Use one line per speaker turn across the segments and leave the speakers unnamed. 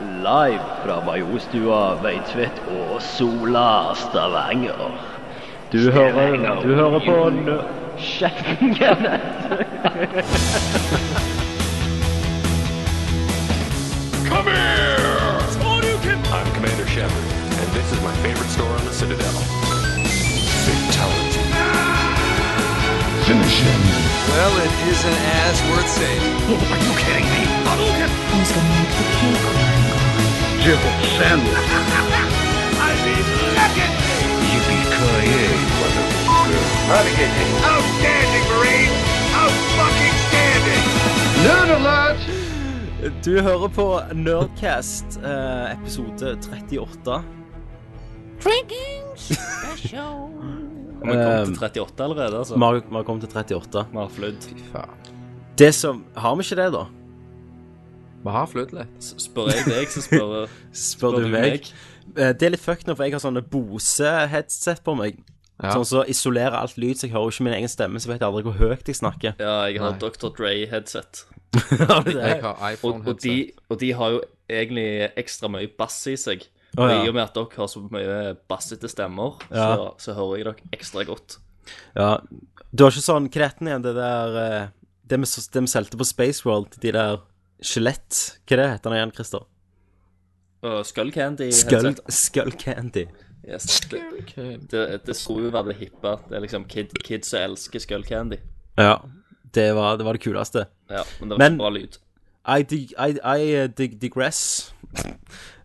Live fra Majorstua, Veitvet og Sola, Stavanger. Du hører, du hører på Nø... Kjeftingene!
Come here! I'm Commander Shepard, and this is my favorite store on the Citadel. Fatality.
Well, it isn't as worth saying.
Who's gonna make the cake?
Outstanding, Marine! Out-fucking-standing!
Du hører på Nerdcast, eh, episode 38.
Har vi kommet til 38 allerede, altså?
Ehm, Vi har- vi har kommet til 38.
Vi har flydd.
Det som Har vi ikke det, da?
Vi har flydd litt.
S- Spør jeg deg, så spør,
Spør, du meg? Eh, Det er litt fucked nå, for jeg har sånne Bose-headset på meg.
Ja.
Sånn så isolerer alt lyd, så jeg hører jo ikke min egen stemme, så vet jeg aldri hvor høyt jeg snakker.
Ja, jeg har
Nei.
Dr. Dre-headset.
Har du det?
Jeg har
Og, og,
iPhone-headset.
de- og de har jo egentlig ekstra mye bass i seg.
Å,
Og
ja.
I og med at dere har så mye bassete stemmer, så,
Ja.
så hører jeg dere ekstra godt.
Ja. Du har ikke sånn kretten igjen, det der eh, Det vi s- det vi solgte på Spaceworld, de der skjelett... Hva er det heter den igjen, Christer?
Og
Skull,
Skull Candy-headset.
skull Candy.
Yes. Det, det, det skulle jo være det hippe. Det er liksom kid, kids som elsker Skull Candy.
Ja. Det var det, var det kuleste.
Ja, men det var
Men-
ikke bra lyd.
I, dig, I, I eh, dig, digress.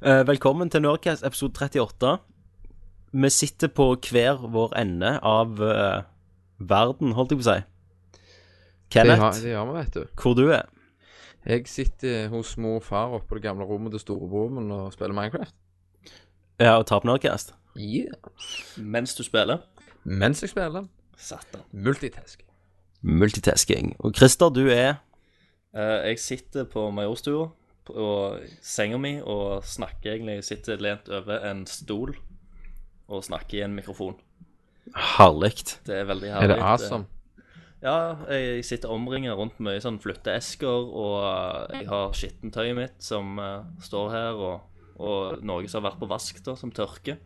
Eh, velkommen til Nerdcast episode 38. Vi sitter på hver vår ende av eh, verden, holdt jeg på å si.
Det har-
Kenneth,
det gjør vi, vet du.
hvor du er.
Jeg sitter hos mor og far oppe på det gamle rommet til storebroren min og spiller Minecraft.
Ja, og tar på Nerdcast.
Yeah.
Mens du spiller
Mens jeg spiller.
Satan.
Multitask.
Multitasking. Og Christer, du er
Eh, Jeg sitter på majorstua på- og senga mi og snakker egentlig. Jeg sitter lent over en stol og snakker i en mikrofon.
herlig.
Det er veldig herlig.
Er det awesome?
Ja, jeg jeg sitter omringet rundt mye sånn flytteesker, og eh, jeg har skittentøyet mitt som eh, står her, og, og noe som har vært på vask, da, som tørker.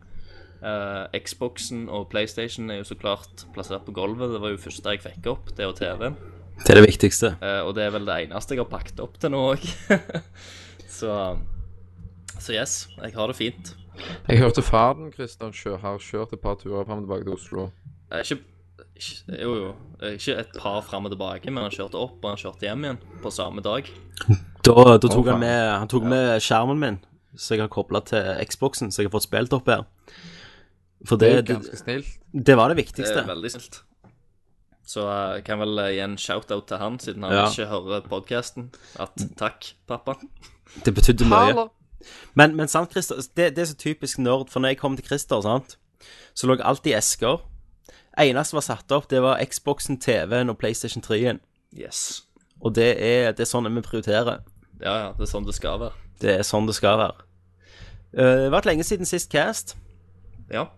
Eh, Xboxen og PlayStation er jo så klart plassert på gulvet. Det var jo første jeg fikk opp, det og TV-en.
Det er det viktigste.
Eh, og det er vel det eneste jeg har pakket opp til nå òg. så, så yes, jeg har det fint.
Jeg hørte faren Christian kjø- har kjørt et par turer fram og tilbake til Oslo.
Eh, Ikke, ikke Jo, jo. eh, Ikke et par fram og tilbake, men han kjørte opp og han kjørte hjem igjen på samme dag.
Da, da tok
faen.
han med, han tok med skjermen min, som jeg har kobla til Xboxen, så jeg har fått spilt opp her. For
Det
det,
er jo
det,
ganske snilt.
det var det
Det
viktigste.
er veldig snilt. Så eh, jeg kan vel eh, gi en shout-out til han, siden han
Ja.
ikke hører podkasten, at takk, pappa.
Det betydde mye. Men, men sant, Christer, det, det er så typisk nerd, for når jeg kom til Christer, sant, så lå alt i esker. Eneste som var satt opp, det var Xboxen, TV-en og PlayStation 3-en.
Yes.
Og det er, det er sånn vi prioriterer.
Ja, ja. Det er sånn det skal være.
Det er sånn det skal være. Eh, Det har vært lenge siden sist cast.
Ja,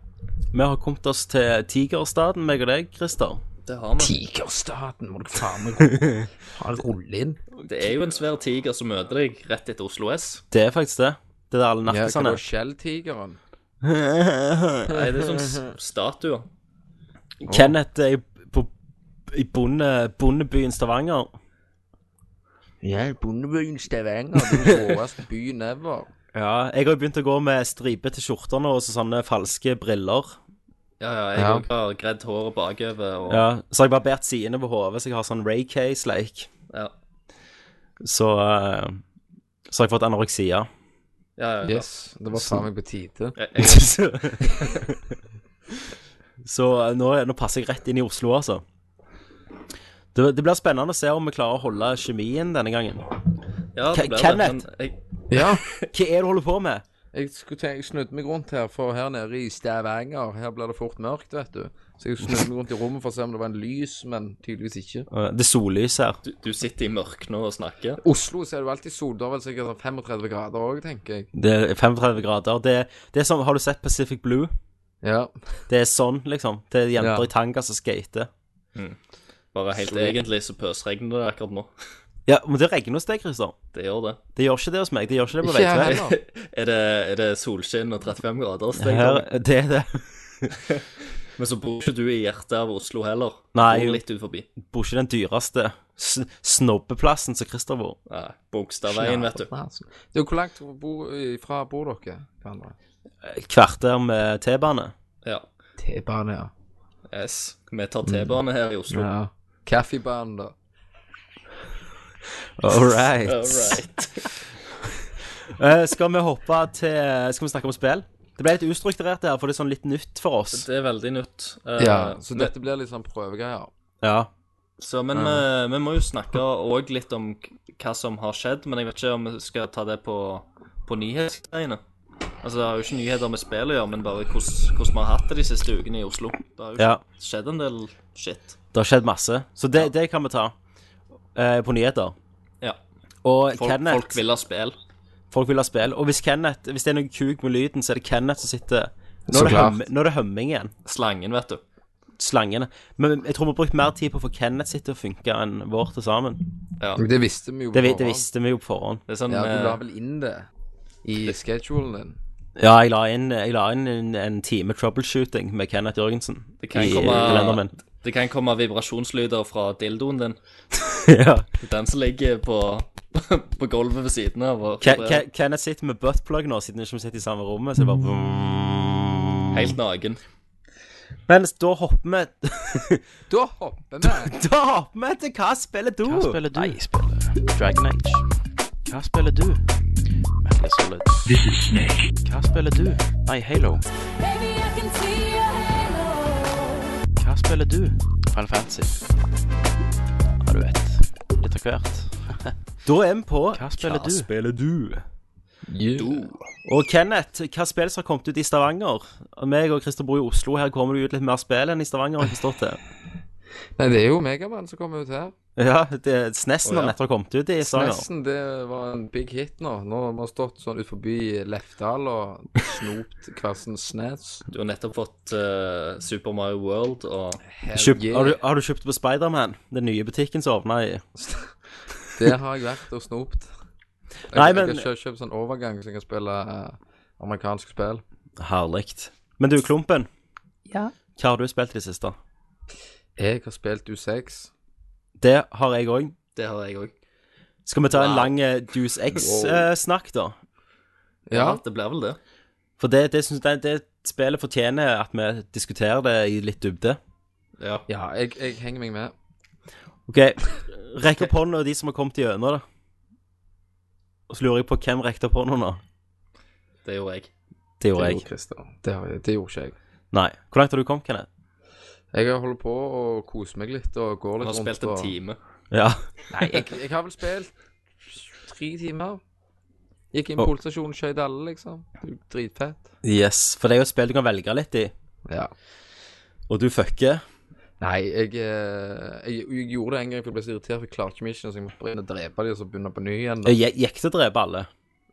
Vi har kommet oss til Tigerstaden, meg og deg, Christer.
det har vi.
Tigerstaten, må du faen meg ro- faen rulle inn.
Det er jo en svær tiger som møter deg rett etter Oslo S.
Det er faktisk det. Det er der alle
Ja, sånn hva
narkisene
da? Skjelltigeren?
Nei, det er sånn s- statuer.
Kenneth er i, på, i bonde, bondebyen Stavanger.
Ja, bondebyen Stavanger. Den råeste byen ever.
Ja, jeg har jo begynt å gå med stripete skjorter nå og så sånne falske briller.
Ja, ja, jeg
Ja.
også har gredd håret bakover og ja.
Ja, så har jeg barbert sidene på hodet, så jeg har sånn Ray K-sleik.
Ja,
Så eh, Så har jeg fått anoreksia.
ja, ja.
Yes, det var faen meg på tide.
Jeg, jeg,
så eh, nå, nå passer jeg rett inn i Oslo, altså. Det, det blir spennende å se om vi klarer å holde kjemien denne gangen.
ja,
Ke-
det ble det.
Kenneth!
men Jeg,
Ja,
Hva er det du holder på med?
jeg skulle tenke, jeg snudde meg rundt her, for her nede i Stavanger, her blir det fort mørkt, vet du. Så jeg snudde meg rundt i rommet for å se om det var en lys, men tydeligvis ikke.
Eh, Det er sollys her.
du, du sitter i mørket nå og snakker.
Oslo ser du alltid sol, da er vel sikkert sånn 35 grader òg, tenker jeg.
Det er 35 grader. Det, det er sånn, Har du sett Pacific Blue?
Ja.
Det er sånn, liksom. Det er jenter i
Ja.
tanga som skater.
Bare helt egentlig så pøsregner det akkurat nå.
Ja, men det regner hos deg, Christer.
Det gjør det.
Det gjør ikke det hos meg. Det gjør ikke det på
Ikke jeg
Veitvet.
heller.
Er det, er det solskinn og 35 grader? Steng?
Her, det er det.
Men så bor ikke du i hjertet av Oslo heller.
Nei,
Bor
jo.
litt ut forbi.
Bor ikke den dyreste sn- snobbeplassen som Christer bor.
Nei, Bogstadveien, vet du.
Du, hvor langt bor, fra bor dere hverandre?
Kvarter med T-bane.
Ja.
T-bane, ja.
S. Vi tar T-bane her i Oslo.
ja. Kaffebanen, da.
All right.
All right.
Eh, skal vi hoppe til Skal vi snakke om spill? Det ble litt ustrukturert her, for det er sånn litt nytt for oss.
Det er veldig nytt. Eh,
Ja, så
men-
dette blir litt sånn prøvegreier.
Ja.
Så, men eh, vi, vi må jo snakke òg litt om k- hva som har skjedd, men jeg vet ikke om vi skal ta det på, på nyhetsgreiene. Altså, Det har jo ikke nyheter med spill å gjøre, men bare hvordan hvordan vi har hatt det de siste ukene i Oslo. Det har jo
Ja.
skjedd en del shit.
Det har skjedd masse. Så det, det kan vi ta eh, på nyheter.
Ja.
Og
Folk,
Kenneth
folk vil ha spill.
Folk vil ha spill. Og hvis, Kenneth, hvis det er noe kuk med lyden, så er det Kenneth som sitter Nå er
Så
det,
klart.
høm, nå er det hømming igjen.
Slangen, vet du.
Slangene. Men jeg tror vi har brukt mer tid på å få Kenneth sitt til å funke enn vår til sammen.
Ja.
Det visste vi jo. på
Det, vi- det
forhånd.
visste vi jo på forhånd.
Det er sånn
Ja, du la
eh,
vel inn det i schedulen din.
Ja, jeg la inn, jeg la inn en, en time troubleshooting med Kenneth Jørgensen
det, kan
i kalenderen
komme,
min.
det kan komme vibrasjonslyder fra dildoen din.
ja.
Den som ligger på, på gulvet ved siden av. og-
Ke Ke Kenneth sitter med buttplug nå, siden vi ikke sitter i samme rommet. Så det er bare
Helt naken.
Men da hopper vi
Da hopper vi!
Da hopper vi til hva spiller du?
Hva spiller du? Jeg spiller Dragon Age. Hva spiller du? Metal Gear Solid. Hva spiller du? Nei, Halo.
Baby, I can see your halo.
Hva spiller du? Final Fantasy. Ja, du vet. Litt av hvert.
Da er vi på
Hva spiller du?
spiller du? Og Kenneth, hva spill som har kommet ut i Stavanger? Og Meg og Christer bor i Oslo, her kommer det ut litt mer spill enn i Stavanger, har jeg forstått det.
Nei, det er jo Megaman som kommer ut her.
Ja, det, Snessen
Å, ja.
har nettopp kommet ut i Stavanger.
Nesten det var en big hit nå. Nå har vi stått sånn ut forbi Lefdal og snopt Kvarsens Snes.
Du har nettopp fått eh, Super Mario World og
Kjøpt,
yeah.
har, du, har du kjøpt det på Spiderman? Den nye butikken som åpna i
Det har jeg vært og snopt. Jeg,
Nei,
jeg
men-
har ikke kjøpt sånn overgang så jeg kan spille eh, amerikansk spill.
Herlig. Men du, Klumpen. Hva har du spilt i det siste?
Jeg har spilt U6.
Det har jeg òg.
Det har jeg òg.
Skal vi ta en
Wow.
lang eh, Juice X-snakk, da?
Ja,
Ja, det blir vel det.
For det, det, synes, det, det spillet fortjener at vi diskuterer det i litt dybde.
Ja.
ja jeg, jeg henger meg med.
OK. Rekk opp hånda de som har kommet gjennom det. Og så lurer jeg på hvem rekte opp hånda nå.
Det gjorde jeg.
Det
Det
gjorde
gjorde
jeg.
Christer. Det, har jeg- det gjorde ikke jeg.
Nei. Hvor langt har du kommet, Kenneth?
Jeg holder på å kose meg litt og gå
Vi
litt
har
rundt.
spilt en
og-
time.
Ja.
Nei, jeg, jeg har vel spilt tre timer. Gikk inn
Og-
på politistasjonen, skjøt alle, liksom. Det er jo Dritfett.
Yes. For det er jo et spill du kan velge litt i.
Ja.
Og du fucker.
Nei, jeg, eh, jeg, jeg gjorde det en gang for jeg ble så irritert, for jeg klarte ikke mission, så jeg måtte bare inn og drepe dem og så begynne på ny igjen. da.
Jeg gikk til å drepe alle.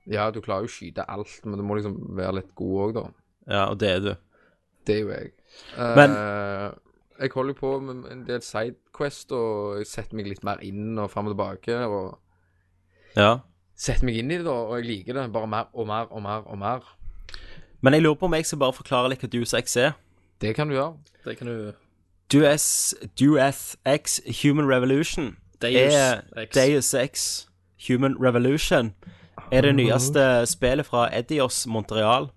Ja, du klarer jo å skyte alt, men du må liksom være litt god òg, da.
Ja, og det er du.
Det er jo jeg. Eh, jeg holder jo på med en del sidequest, og jeg setter meg litt mer inn og fram og tilbake. og
Ja.
Setter meg inn i det, da, og jeg liker det. Bare mer og mer og mer og mer.
Men jeg lurer på om jeg skal bare forklare litt hva Deus Ex er.
Det kan du gjøre.
Det kan du
Deus, Deus Ex Human Revolution
Deus
er
Ex.
Deus Ex Human Revolution er det nyeste spillet fra Edios Montreal,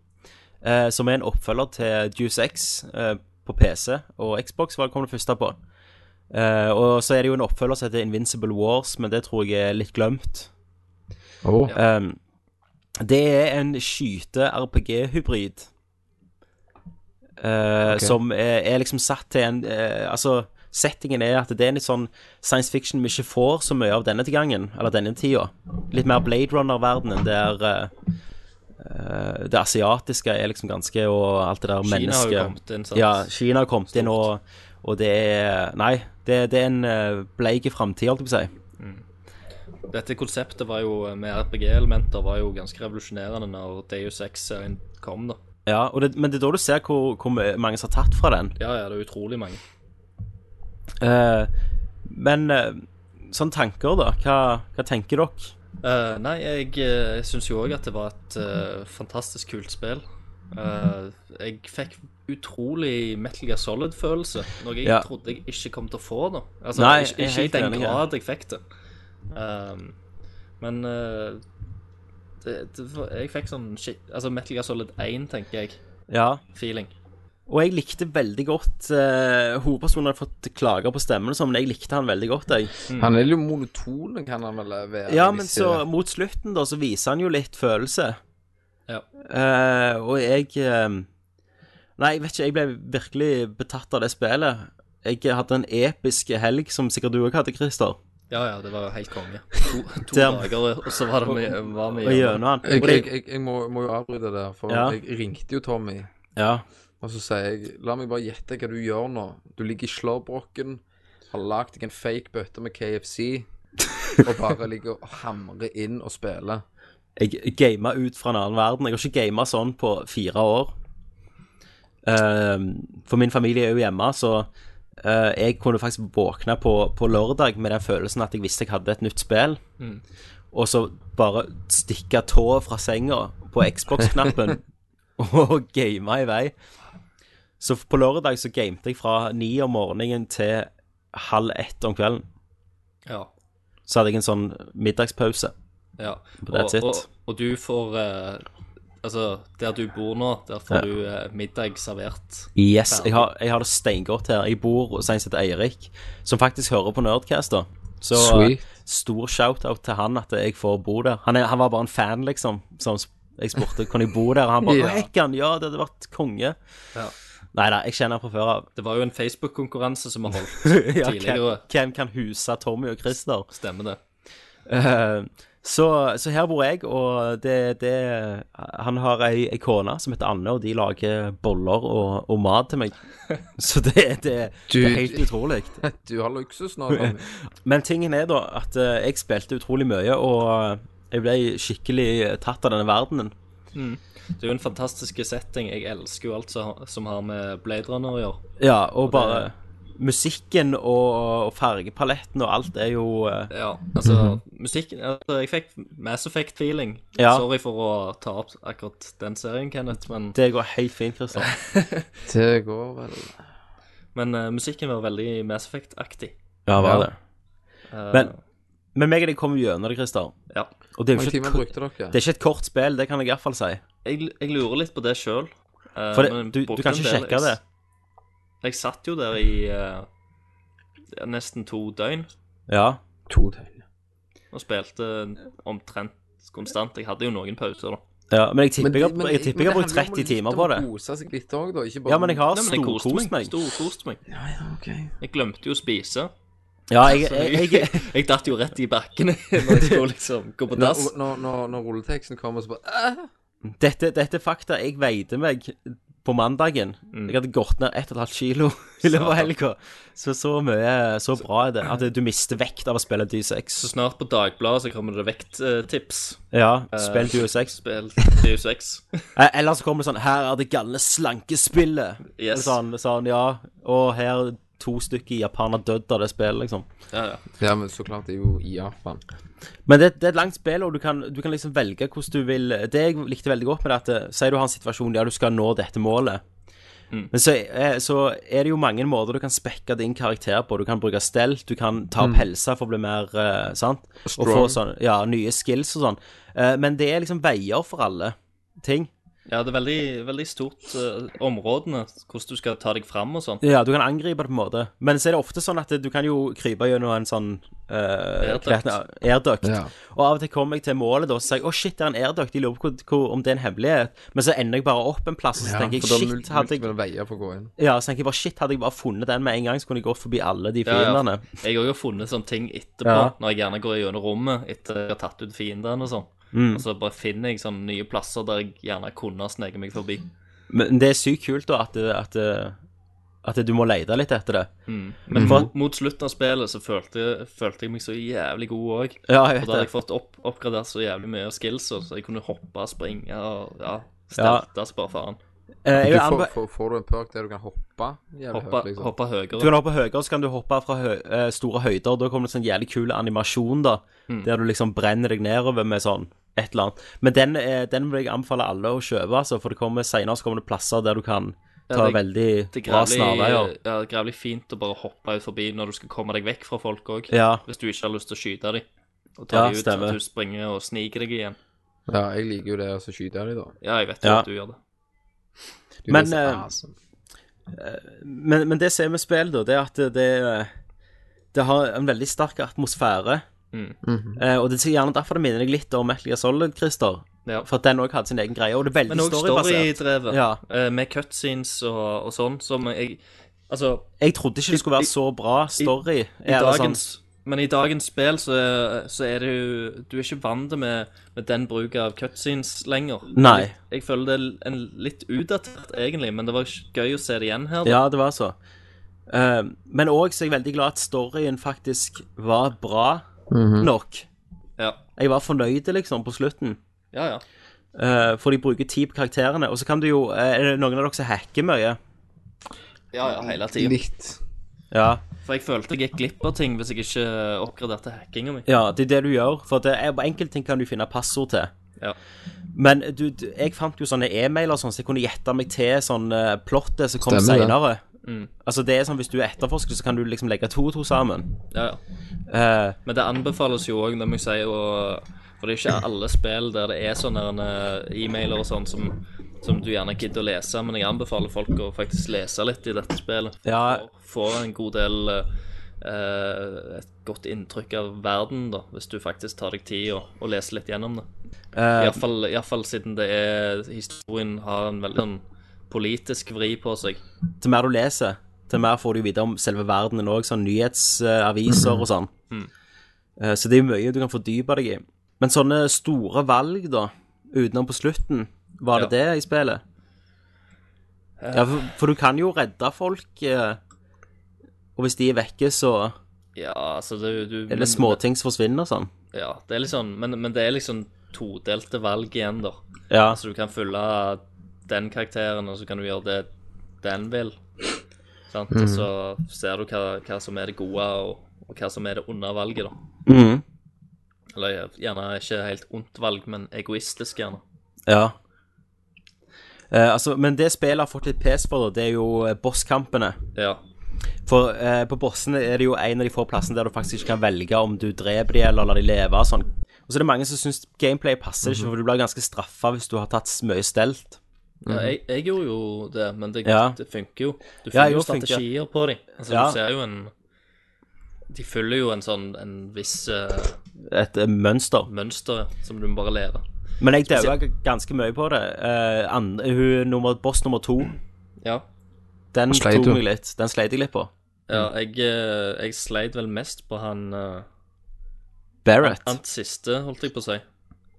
eh, som er en oppfølger til Deus Ex eh, på PC og Xbox, var det kom det første på. Eh, og så er det jo en oppfølger som heter Invincible Wars, men det tror jeg er litt glemt.
Oh.
Um, det er en skyte-RPG-hybrid. eh, Som er, er liksom satt til en eh, Altså, settingen er at det er en litt sånn science fiction vi ikke får så mye av denne til gangen. Eller denne tida. Litt mer Blade Runner-verdenen, der eh, eh, det asiatiske er liksom ganske Og alt det der
Kina har
mennesket
jo kommet inn, sant?
Ja, Kina har kommet inn, og, og det er Nei, det, det er en eh, bleik framtid, holdt jeg på å si.
Dette konseptet var jo eh, med RPG-elementer var jo ganske revolusjonerende når Deus Ex-serien kom, da.
Ja, og det, men det er da du ser hvor, hvor mange som har tatt fra den.
Ja, ja, det er utrolig mange.
Eh, men eh, sånne tanker, da. Hva, hva tenker dere?
Eh, nei, jeg uh, syns jo òg at det var et eh, fantastisk kult spill. Eh, jeg fikk utrolig Metal Gear Solid-følelse, noe jeg
Ja.
trodde jeg ikke kom til å få. da Altså,
Nei, jeg
Ikke,
er
ikke i
helt
den
enig, ja.
grad jeg fikk det. Ehm, men eh, det, det, var- jeg fikk sånn shit, altså Metal Gear Solid 1, tenker jeg.
Ja.
Feeling.
Og jeg likte veldig godt eh, Hovedpersonen hadde fått klager på stemmen, og sånn, men jeg likte han veldig godt. jeg.
Han
Mm.
er litt monoton, kan han vel være?
Mm. Ja,
hvis
men
det-
så mot slutten, da, så viser han jo litt følelse.
Ja.
Eh, og jeg eh, Nei, jeg vet ikke, jeg ble virkelig betatt av det spillet. Jeg hadde en episk helg, som sikkert du òg hadde, Christer.
Ja, ja, det var jo helt konge. To, to
Der-
dager, og så var det mye- var
Og
vi gjennom.
gjennom han.
Jeg,
Og
jeg,
det-
jeg, jeg må, må jo avbryte der, for
Ja.
jeg ringte jo Tommy.
Ja.
Og så sier jeg La meg bare gjette hva du gjør nå. Du ligger i slåbroken, har lagd deg en fake bøtte med KFC, og bare ligger og hamrer inn og spiller.
Jeg gama ut fra en annen verden. Jeg har ikke gama sånn på fire år. Ehm, for min familie er jo hjemme, så eh, jeg kunne faktisk våkne på, på lørdag med den følelsen at jeg visste jeg hadde et nytt spill. Og så bare stikke tåa fra senga på Xbox-knappen og game i vei. Så på lørdag så gamete jeg fra ni om morgenen til halv ett om kvelden.
Ja.
Så hadde jeg en sånn middagspause.
Ja.
That's it.
og, og, og du får eh, Altså, der du bor nå, der får du eh, middag servert.
Yes, jeg har, jeg har det steingodt her. Jeg bor hos en som heter Eirik, som faktisk hører på Nerdcast. da Så
Sweet.
eh, stor shout-out til han at jeg får bo der. Han, er, han var bare en fan, liksom. Som sp- jeg spurte kunne jeg bo der, og han bare
Ja.
ja. Hekkan, ja, det hadde vært konge.
Ja.
Nei da, jeg kjenner han fra før av.
Det var jo en Facebook-konkurranse som har holdt
Ja, hvem,
tidligere.
hvem kan huse Tommy og Christer?
Stemmer det.
Eh, så, så her bor jeg, og det, det Han har ei, ei kone som heter Anne, og de lager boller og, og mat til meg. Så det, det, det
Dude.
er helt utrolig.
Du har luksus nå, Tommy.
Men tingen er da at eh, jeg spilte utrolig mye, og eh, jeg ble skikkelig tatt av denne verdenen.
Det er jo en fantastisk setting. Jeg elsker jo alt som som har med Blade Runner å gjøre.
Ja, og bare Musikken og, og fargepaletten og alt er jo eh,
Ja, altså, musikken altså, Jeg fikk Mass Effect-feeling.
Mhm. Ja.
Sorry for å ta opp akkurat den serien, Kenneth, men,
Det går helt fint, Christer.
Det går vel
men eh, musikken var veldig Mass Effect-aktig. Eh,
Ja,
var
det. Men, men meg og deg kom gjennom det, Christer.
Ja.
Og det er
Hvor
jo ikke
mange timer
et, ko-
brukte dere?
det er ikke et kort spill, det kan jeg iallfall si.
Jeg, jeg lurer litt på det eh, sjøl.
For det, du, du kan ikke sjekke det.
Jeg satt jo der i eh, nesten to døgn
Ja.
To døgn.
og spilte omtrent konstant. Jeg hadde jo noen pauser, da.
ja. Men jeg tipper jeg har- jeg tipper jeg har brukt 30 timer på det. liksom
Å kose seg litt også, da. Ikke bare
Ja, men jeg har
Nei, men jeg koste
storkost
meg.
meg.
Storkost meg.
Ja, ja, ok.
Jeg glemte jo å spise.
Ja, jeg,
Så
jeg,
jeg,
jeg,
jeg, datt jo rett i bakken når jeg skulle liksom gå på dass.
Når, når, når, når rulleteksten kommer, så bare «Æ!»
Dette, dette er fakta. Jeg veide meg på mandagen.
Mm.
Jeg hadde gått ned 1,5 kilo i løpet av helga. Så så mye Så bra er det at du mister vekt av å spille
Så
D6.
snart på Dagbladet så kommer det Eh, vekttips.
Ja, spill D6.
Spill DU6.
Eh, Eller så kommer det sånn Her er det galne slankespillet.
Yes.
Sånn, sånn, ja. Og her er to stykker i Japan har dødd av det spillet, liksom.
Ja, ja.
Ja, men så klart, det er jo i Japan.
Men det, det er et langt spill, og du kan, du kan liksom velge hvordan du vil Det jeg likte veldig godt med det, at eh, sier du har en situasjon der du skal nå dette målet, men så, er- så er det jo mange måter du kan spekke din karakter på. Du kan bruke stelt, du kan ta opp helsa for å bli mer eh, sant? Og få sånn, ja, nye skills og sånn. Eh, men det er liksom veier for alle ting.
ja, det er veldig, veldig stort eh, områdene, hvordan du skal ta deg fram og sånn.
Ja, du kan angripe det på en måte, men så er det ofte sånn at du kan jo krype gjennom en sånn uh,
Airduct.
airduct.
Ja.
Og av og til kommer jeg til målet, da, og så sier jeg å shit, det er en airduct, jeg lurer på hvor- hvor- om det er en hemmelighet. Men så ender jeg bare opp en plass, og så tenker jeg
for da er mul-
shit, hadde jeg
multiple veier for å gå inn.
ja, så tenker jeg bare shit, hadde jeg bare funnet den med en gang, så kunne jeg gått forbi alle de
Ja, ja.
fiendene.
Jeg har jo funnet sånne ting etterpå,
Ja.
når jeg gjerne går gjennom rommet etter jeg har tatt ut fiendene og sånn.
Mm.
Og så bare finner jeg sånne nye plasser der jeg gjerne kunne ha sneket meg forbi.
Men det er sykt kult, da, at, at, at du må lete litt etter det.
Mm.
Men
For-
mot, mot slutten av spillet så følte, følte jeg meg så jævlig god òg.
Ja, jeg
Og da hadde jeg
vet det.
fått opp, oppgradert så jævlig mye skills, så jeg kunne hoppe, springe og ja,
Ja.
steltes bare faen.
Eh, jeg
Du
vil
får,
anbe-
får, får du en perk der du kan hoppe jævlig
Hoppe,
høyt, liksom.
hoppe
Du kan
høyere.
hoppe høyere, så kan du hoppe fra hø eh, store høyder. Da kommer det sånn jævlig kul animasjon, da.
Mm.
Der du liksom brenner deg nedover med sånn et eller annet. Men den, eh, den vil jeg anbefale alle å kjøpe, altså, for det kommer senere så kommer det plasser der du kan ta
det-
veldig
Det er
bra
grævlig,
snarveier.
ja, det er grævlig fint å bare hoppe ut forbi når du skal komme deg vekk fra folk òg.
Ja.
Hvis du ikke har lyst til å skyte dem. Og
Ja,
ta dem ut,
stemmer.
at du springer og sniker deg igjen.
Ja, jeg liker jo det, og så skyter jeg dem, da.
Ja, jeg vet jo
Ja.
at du gjør det.
Du,
Men,
det er så
eh,
awesome.
Men, men det som er med spill, da, det er at det, eh, det har en veldig sterk atmosfære.
Mm.
Eh, og det er gjerne derfor det minner deg litt om Metal Gear Solid, Christer.
Ja.
For at den òg hadde sin egen greie, og det er veldig
Men òg
storybasert.
storydrevet,
Ja.
eh, med cutscenes og, og sånn, som jeg Altså,
Jeg trodde ikke det skulle være så bra story.
i
eller sånn.
dagens Men i dagens spill så, så er det jo Du er ikke vant med, med den bruken av cutscenes lenger.
Nei.
Jeg, jeg føler det er en litt utdatert, egentlig, men det var gøy å se det igjen her. da.
Ja, det var så. Eh, men òg så er jeg veldig glad at storyen faktisk var bra
Mhm.
nok.
Ja.
Jeg var fornøyd, liksom, på slutten.
ja, ja.
Eh, for de bruker tid på karakterene. Og så kan du jo eh, Er det noen av dere som hacker mye?
Ja, ja, hele tiden.
Litt.
Ja.
For jeg følte jeg gikk glipp av ting hvis jeg ikke oppgraderte hackinga mi.
ja, det er det du gjør. For det er, på enkelte ting kan du finne passord til.
Ja.
Men du, du, jeg fant jo sånne e-mailer og sånn, så jeg kunne gjette meg til sånn eh, plottet som kom
Stemmer det.
seinere.
Mm.
Altså, det er sånn, hvis du er etterforsker, så kan du liksom legge to og to sammen.
Ja, ja.
Eh,
Men det anbefales jo òg, det må jeg si, og For det er ikke alle spill der det er sånne eh, e-mailer og sånn som, som du gjerne gidder å lese, men jeg anbefaler folk å faktisk lese litt i dette spillet.
Ja.
Og får en god del eh, et godt inntrykk av verden, da, hvis du faktisk tar deg tid og, og leser litt gjennom det.
eh,
Iallfall fall siden det er historien har en veldig sånn politisk vri på seg.
til mer du leser, til mer får du vite om selve verdenen òg, sånn nyhetsaviser og sånn. Eh, Så det er mye du kan fordype deg i. Men sånne store valg, da, utenom på slutten, var det det i spillet? Ja, for, for du kan jo redde folk, eh, og hvis de er vekke, så
Ja, altså det, du,
er
men-
det småting som forsvinner sånn.
Ja, det er litt sånn, men, men det er liksom todelte valg igjen, da.
Ja,
Altså, du kan følge den karakteren, og så kan du gjøre det den vil. Sant?
Mhm.
Og så ser du hva, hva som er det gode, og, og hva som er det onde valget, da.
Mhm.
Eller gjerne ikke helt ondt valg, men egoistisk, gjerne.
ja. Eh, altså, men det spillet har fått litt pes for, da, det er jo eh, bosskampene.
Ja.
For eh, på bossene er det jo en av de få plassene der du faktisk ikke kan velge om du dreper de eller lar de leve og sånn. Og så er det mange som syns gameplay passer ikke, for du blir ganske straffa hvis du har tatt s- mye stelt.
ja jeg, jeg gjorde jo det, men det,
Mhm. Ja.
det funker jo.
Ja,
Du finner
jeg
jo
også funker.
strategier på dem. Altså,
Ja.
du ser jo en De følger jo en sånn en viss eh,
Et eh, mønster.
mønster som du må bare lære.
Men jeg daua ganske mye på det. Eh, and, hun, nummer, boss nummer to,
Ja.
den
sleit
tok
du?
meg litt. Den sleit jeg litt på.
Ja,
Mhm.
jeg, eh, jeg sleit vel mest på han eh,
Barrett.
Ant siste, holdt jeg på å si.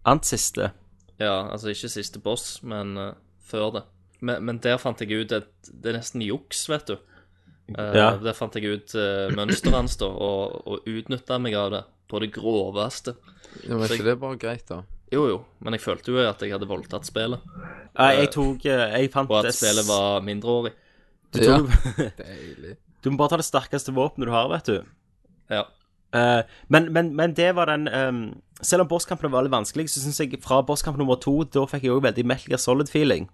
Ant siste.
Ja, altså ikke siste boss, men eh, før det. Men, men der fant jeg ut at det er nesten juks, vet du. Eh,
Ja.
Der fant jeg ut eh, mønsteret hans, da, og, og utnytta meg av det på det groveste.
Ja, men er ikke det bare greit, da?
Jo, jo, men jeg følte jo at jeg hadde voldtatt spillet,
Nei, jeg tok eh, Jeg fant
og at
det s-
spillet var mindreårig.
Ja.
Deilig.
Deilig.
Du må bare ta det sterkeste våpenet du har, vet du.
Ja.
Eh, men, men, men det var den ehm, Selv om bosskampene var litt vanskelig, så syns jeg fra bosskamp nummer to da fikk jeg òg veldig Metal Gear Solid-feeling.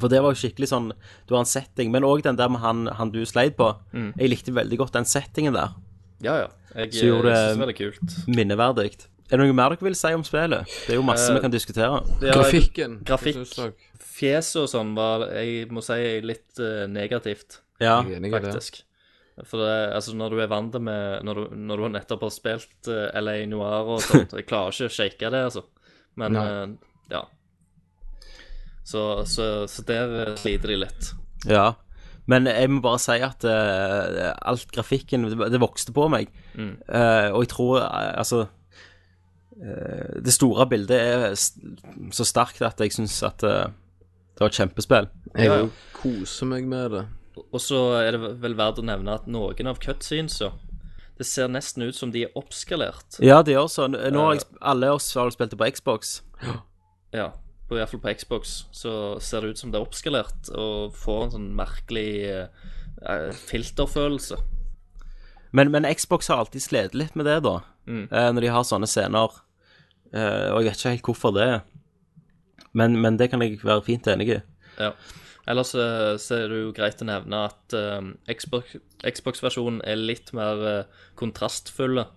For det var jo skikkelig sånn Du har en setting, men òg den der med han, han du sleit på. Jeg likte veldig godt den settingen der.
Ja, ja. Jeg,
Så gjorde
jeg
det-
syns det var kult.
Minneverdig. Er det noe mer dere vil si om spillet? Det er jo masse
Eh,
vi kan diskutere.
Ja, jeg-
Grafikken. hva
grafikk.
synes dere?
Fjeset og sånn var, jeg må si, litt eh, negativt.
Ja.
Jeg er enig i det.
faktisk. For det, altså når du er vant til med Når du, når du nettopp har spilt eh, LA Noir og sånt Jeg klarer ikke å shake det, altså. Men
Nei.
eh, ja. Så, så, så der eh, sliter de litt.
ja. Men jeg må bare si at eh, alt grafikken det, det vokste på meg. Eh, og jeg tror eh, Altså eh, Det store bildet er s- så sterkt at jeg syns at eh, det var et kjempespill.
Jeg
Ja, ja.
jo koser meg med det.
Og så er det vel verdt å nevne at noen av cutscenesa Det ser nesten ut som de er oppskalert.
Eh. Ja, det gjør så. Nå har jeg, sp- alle oss har spilt det på Xbox.
Ja. på, i hvert fall på Xbox, så ser det ut som det er oppskalert og får en sånn merkelig eh, filterfølelse.
Men, men Xbox har alltid slitt litt med det, da. Eh, når de har sånne scener. Eh, og jeg vet ikke helt hvorfor det. er. Men, men det kan jeg være fint enig i.
Ja. Ellers eh, så er det jo greit å nevne at eh, Xbox- Xbox-versjonen er litt mer eh, kontrastfulle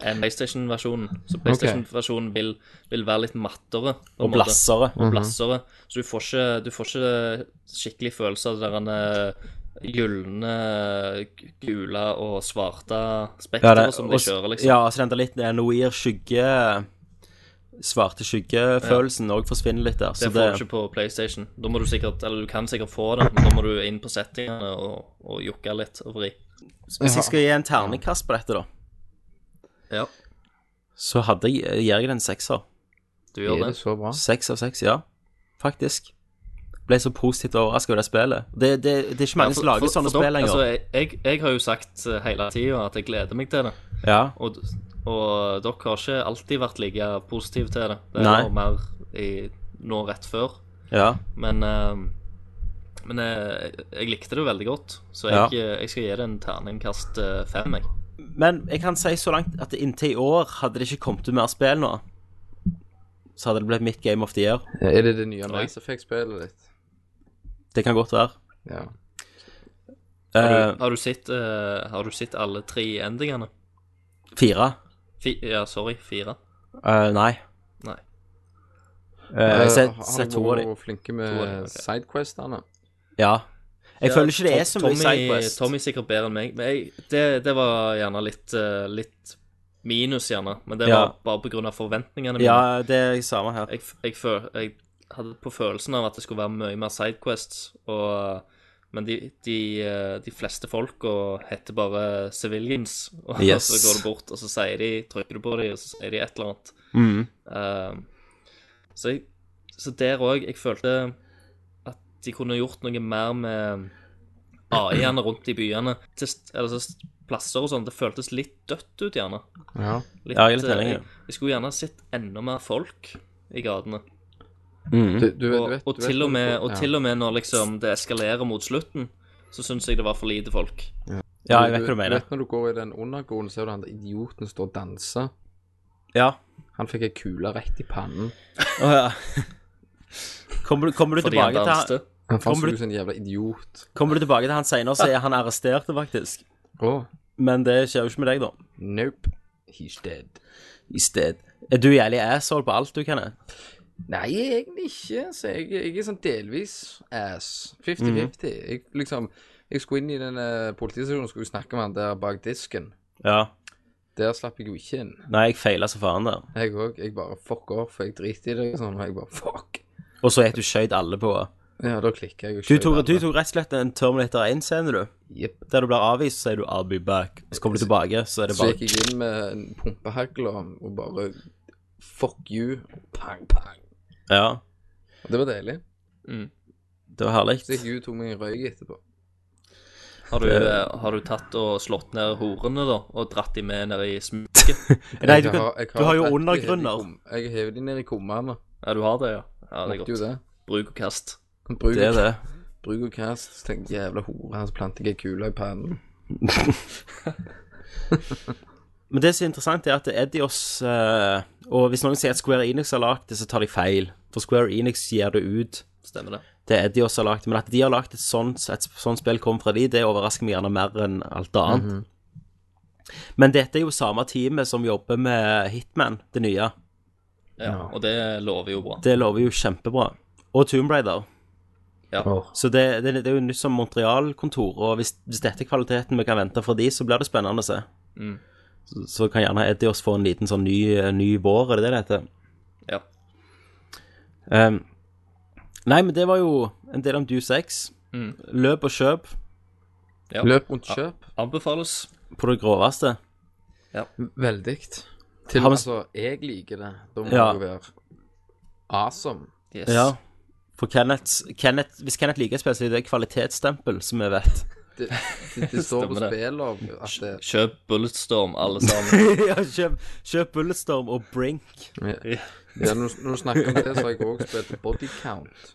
enn PlayStation-versjonen. Så PlayStation-versjonen vil, vil være litt mattere. på en
Og Mhm.
måte.
blassere.
Og blassere. Så du får ikke, du får ikke eh, skikkelig følelse av det der eh, gylne, g- gule og svarte
Ja,
spekteret
det,
som
og
de
s-
kjører, liksom.
ja, altså den der litt eh, noir skygge Svarte skyggefølelsen òg forsvinner litt der. Så det,
Det får du ikke på PlayStation. Da må du sikkert, eller du kan sikkert få det, men da må du inn på settingene og, og jukke litt og vri.
hvis jeg skal gi en terningkast på dette, da,
Ja,
så hadde jeg, gir jeg det en sekser.
du gjør
Er
det.
det så bra?
Seks av seks, ja. Faktisk. Ble så positivt overraska over det spillet. Det, det, det er ikke mange
Ja, for-
som lager
for-
sånne
for
spill
dere-
lenger.
Altså, jeg, jeg, jeg har jo sagt eh, hele tida at jeg gleder meg til det,
ja.
og, d- og dere har ikke alltid vært like positive til det. Det
Nei.
var mer i, nå rett før.
ja.
Men, eh, men eh, jeg likte det veldig godt, så
Ja.
jeg, eh, jeg skal gi det en terningkast eh, fem. Jeg.
Men jeg kan si så langt at inntil i år hadde det ikke kommet ut mer spill nå. Så hadde det blitt mitt game of the year.
Er det det nye
Oi.
Mass Effect-spillet ditt?
Det kan godt være.
Ja.
Har,
Eh,
du, har, du sett, eh, har du sett alle tre endingene?
fire?
Fi, ja, sorry, fire.
Eh, nei.
Nei.
Eh, jeg har sett-
Eh,
sett to av
Har du
dem.
vært flinke
To av de, ok.
med sidequestene?
Ja. Jeg
Ja,
føler ikke det er
Tom-
så mye
Tommy-
Sidequest.
Tommy er sikkert bedre enn meg, men jeg, det, det var gjerne litt, eh, litt minus, gjerne. Men det
Ja.
var bare på grunn av forventningene mine.
Ja, det er samme her.
Jeg, jeg, føl, jeg hadde på følelsen av at det skulle være mye mer sidequests, og, men de, de, eh, de fleste folka heter bare civilians. Og
Yes.
så går du bort, og så sier de, trykker du på dem, og så sier de et eller annet.
Mm.
Ehm, så, jeg, så der òg Jeg følte at de kunne gjort noe mer med AI-ene rundt i byene. Til, st- eller så st- plasser og sånn. Det føltes litt dødt ut, gjerne.
Ja.
Litt,
Ja, jeg er litt
eh,
enig, ja.
jeg, jeg skulle gjerne sett enda mer folk i gatene.
Mm.
Du, du,
Og,
du vet,
og,
du vet
til, og,
hvor du
med,
får-
og
ja.
til og med når liksom det eskalerer mot slutten, så syns jeg det var for lite folk.
Ja, jeg vet hva du mener.
vet når du går i den undergården, ser du han der idioten står og danser.
Ja.
Han fikk ei kule rett i pannen.
Å, ja. Kommer du, kommer du
Fordi han
tilbake til han
danste.
Han fant
Kommer
seg
du-
ut som en jævla idiot.
Kommer du tilbake til han senere, så er han arrestert, faktisk.
Å,
Men det skjer jo ikke med deg, da.
nope. He's dead.
I sted. Er du jævlig asshole på alt du kan? jeg?
Nei, egentlig ikke. Så jeg, jeg er sånn delvis ass. 50-50.
Mhm.
Jeg liksom Jeg skulle inn i den eh, politistasjonen og skulle snakke med han der bak disken.
Ja.
Der slapp jeg jo ikke inn.
Nei, jeg feila så faen der.
Jeg òg. Jeg bare fuck off. Jeg driter i det. Sånn, og jeg bare fuck.
Og så er du skjøt alle på.
Ja, da klikker jeg jo
Du tok, du tok rett og slett en Terminator 1-scene, du.
Jepp.
Der du blir avvist, så sier du 'I'll be back'. Så kommer du tilbake, så er det
Så
bare
gikk jeg inn med en pumpehagl og og bare fuck you. Pang, pang.
Ja,
Og det var deilig.
Mm.
det var herlig.
Så gikk jeg ut og tok meg en røyk etterpå.
Har du, eh, har du tatt og slått ned horene, da, og dratt de med ned i smuget?
Nei, du,
Jeg
kan,
jeg
du har jo
drept de ned i
undergrunner.
kum- Jeg hever de ned i kummene.
Ja, du har det, ja. ja det er
Måtte jo
godt.
det.
Bruk og kast.
Bruk,
Det er det.
bruk og kast. Så tenkte jeg, jævla hore, han planter jeg ei kule i pannen.
Men det som er interessant, er at Edios eh, Og hvis noen sier at Square Enix har lagd det, så tar de feil. For Square Enix gir det ut
Stemmer det.
det Edios har lagd. Men at de har lagd et sånt, et sånt spill kommer fra de, det overrasker meg gjerne mer enn alt annet. Men dette er jo samme teamet som jobber med Hitman, det nye.
Ja, Og det lover jo bra.
Det lover jo kjempebra. Og Tomb Raider.
Ja.
Så det, det, det er jo nytt som Montreal-kontor, og hvis, hvis dette er kvaliteten vi kan vente fra de, så blir det spennende å se.
Mm.
Så, så kan gjerne Eddie oss få en liten sånn ny, ny vår, er det det det heter?
ja.
Ehm, nei, men det var jo en del om Deus Ex.
Mm.
Løp og kjøp
ja.
Løp rundt kjøp.
Anbefales.
på det groveste.
Veldig. Til
Har vi-
altså, jeg liker det. Da må
Ja.
det jo være awesome.
Yes.
Ja. For Kenneth, Kenneth, hvis Kenneth liker et spill, så er det et kvalitetsstempel, som vi vet.
Det, det, det står på
Stemmer det.
spillet av at det
Kjøp Bulletstorm, alle sammen.
ja, kjøp, kjøp Bulletstorm og Brink.
ja, Når når du snakker om det, så har jeg også spilt Bodycount.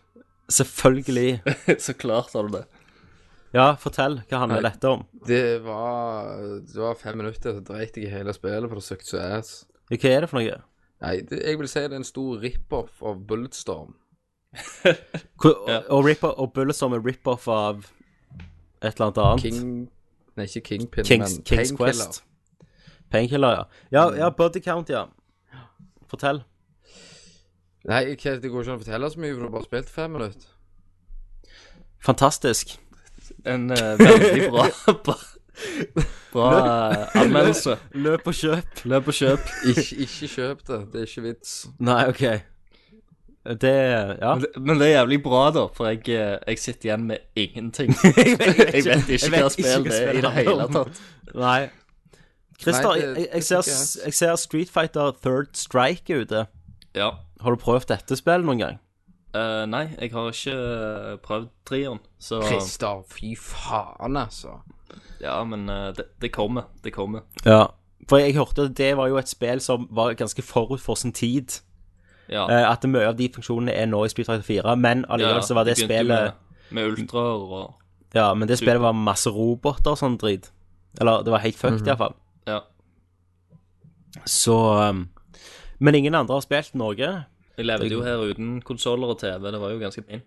Selvfølgelig.
Så klart har du det.
Ja, fortell. Hva handler
Nei.
dette om?
Det var, det var fem minutter, så dreit jeg i hele spillet, for det søkte så ass.
Hva er det for noe?
Nei, det, jeg vil si det er en stor rip-off av Bulletstorm.
Hvor, og, rip og Bulletstorm er rip-off av et eller annet annet.
King Nei, ikke Kingpin,
Kings,
men
Kings
Painkiller. Mm.
Quest. Painkiller, ja. Ja, ja Body Count, ja. Fortell.
Nei, ikke- det går ikke an å fortelle så mye, for du har bare spilt fem minutter.
Fantastisk.
En eh, veldig bra Bra, bra eh, anmeldelse.
Løp og kjøp.
Løp og kjøp.
Ikke, ikke kjøp det. Det er ikke vits.
Nei, OK. Det Ja.
Men det- Men det er jævlig bra, da, for jeg, eh, jeg sitter igjen med ingenting. Jeg vet ikke,
jeg vet ikke
hva
hva
spill det er
spillet
i det
handler
hele
om.
tatt.
Nei. Christer,
Nei, det-
jeg, jeg,
det
ser,
fikk jeg.
s- jeg ser Street Fighter Third Strike er ute.
Ja.
Har du prøvd dette spillet noen gang?
Eh, nei, jeg har ikke eh, prøvd trieren, så
Christer, fy faen, altså.
Ja, men eh, det, det kommer. Det kommer.
Ja. For jeg hørte at det var jo et spill som var ganske forut for sin tid.
Ja.
Eh, At mye av de funksjonene er nå i Street Fighter 4, men allikevel så var det
begynte jo
spillet
Med, med ultraer og
Ja, men det spillet var masse roboter og sånn drit. Eller det var helt fucked,
Mhm.
iallfall.
Ja.
Så um, Men ingen andre har spilt noe.
Jeg levde jo her uten konsoller og TV, det var jo ganske pin.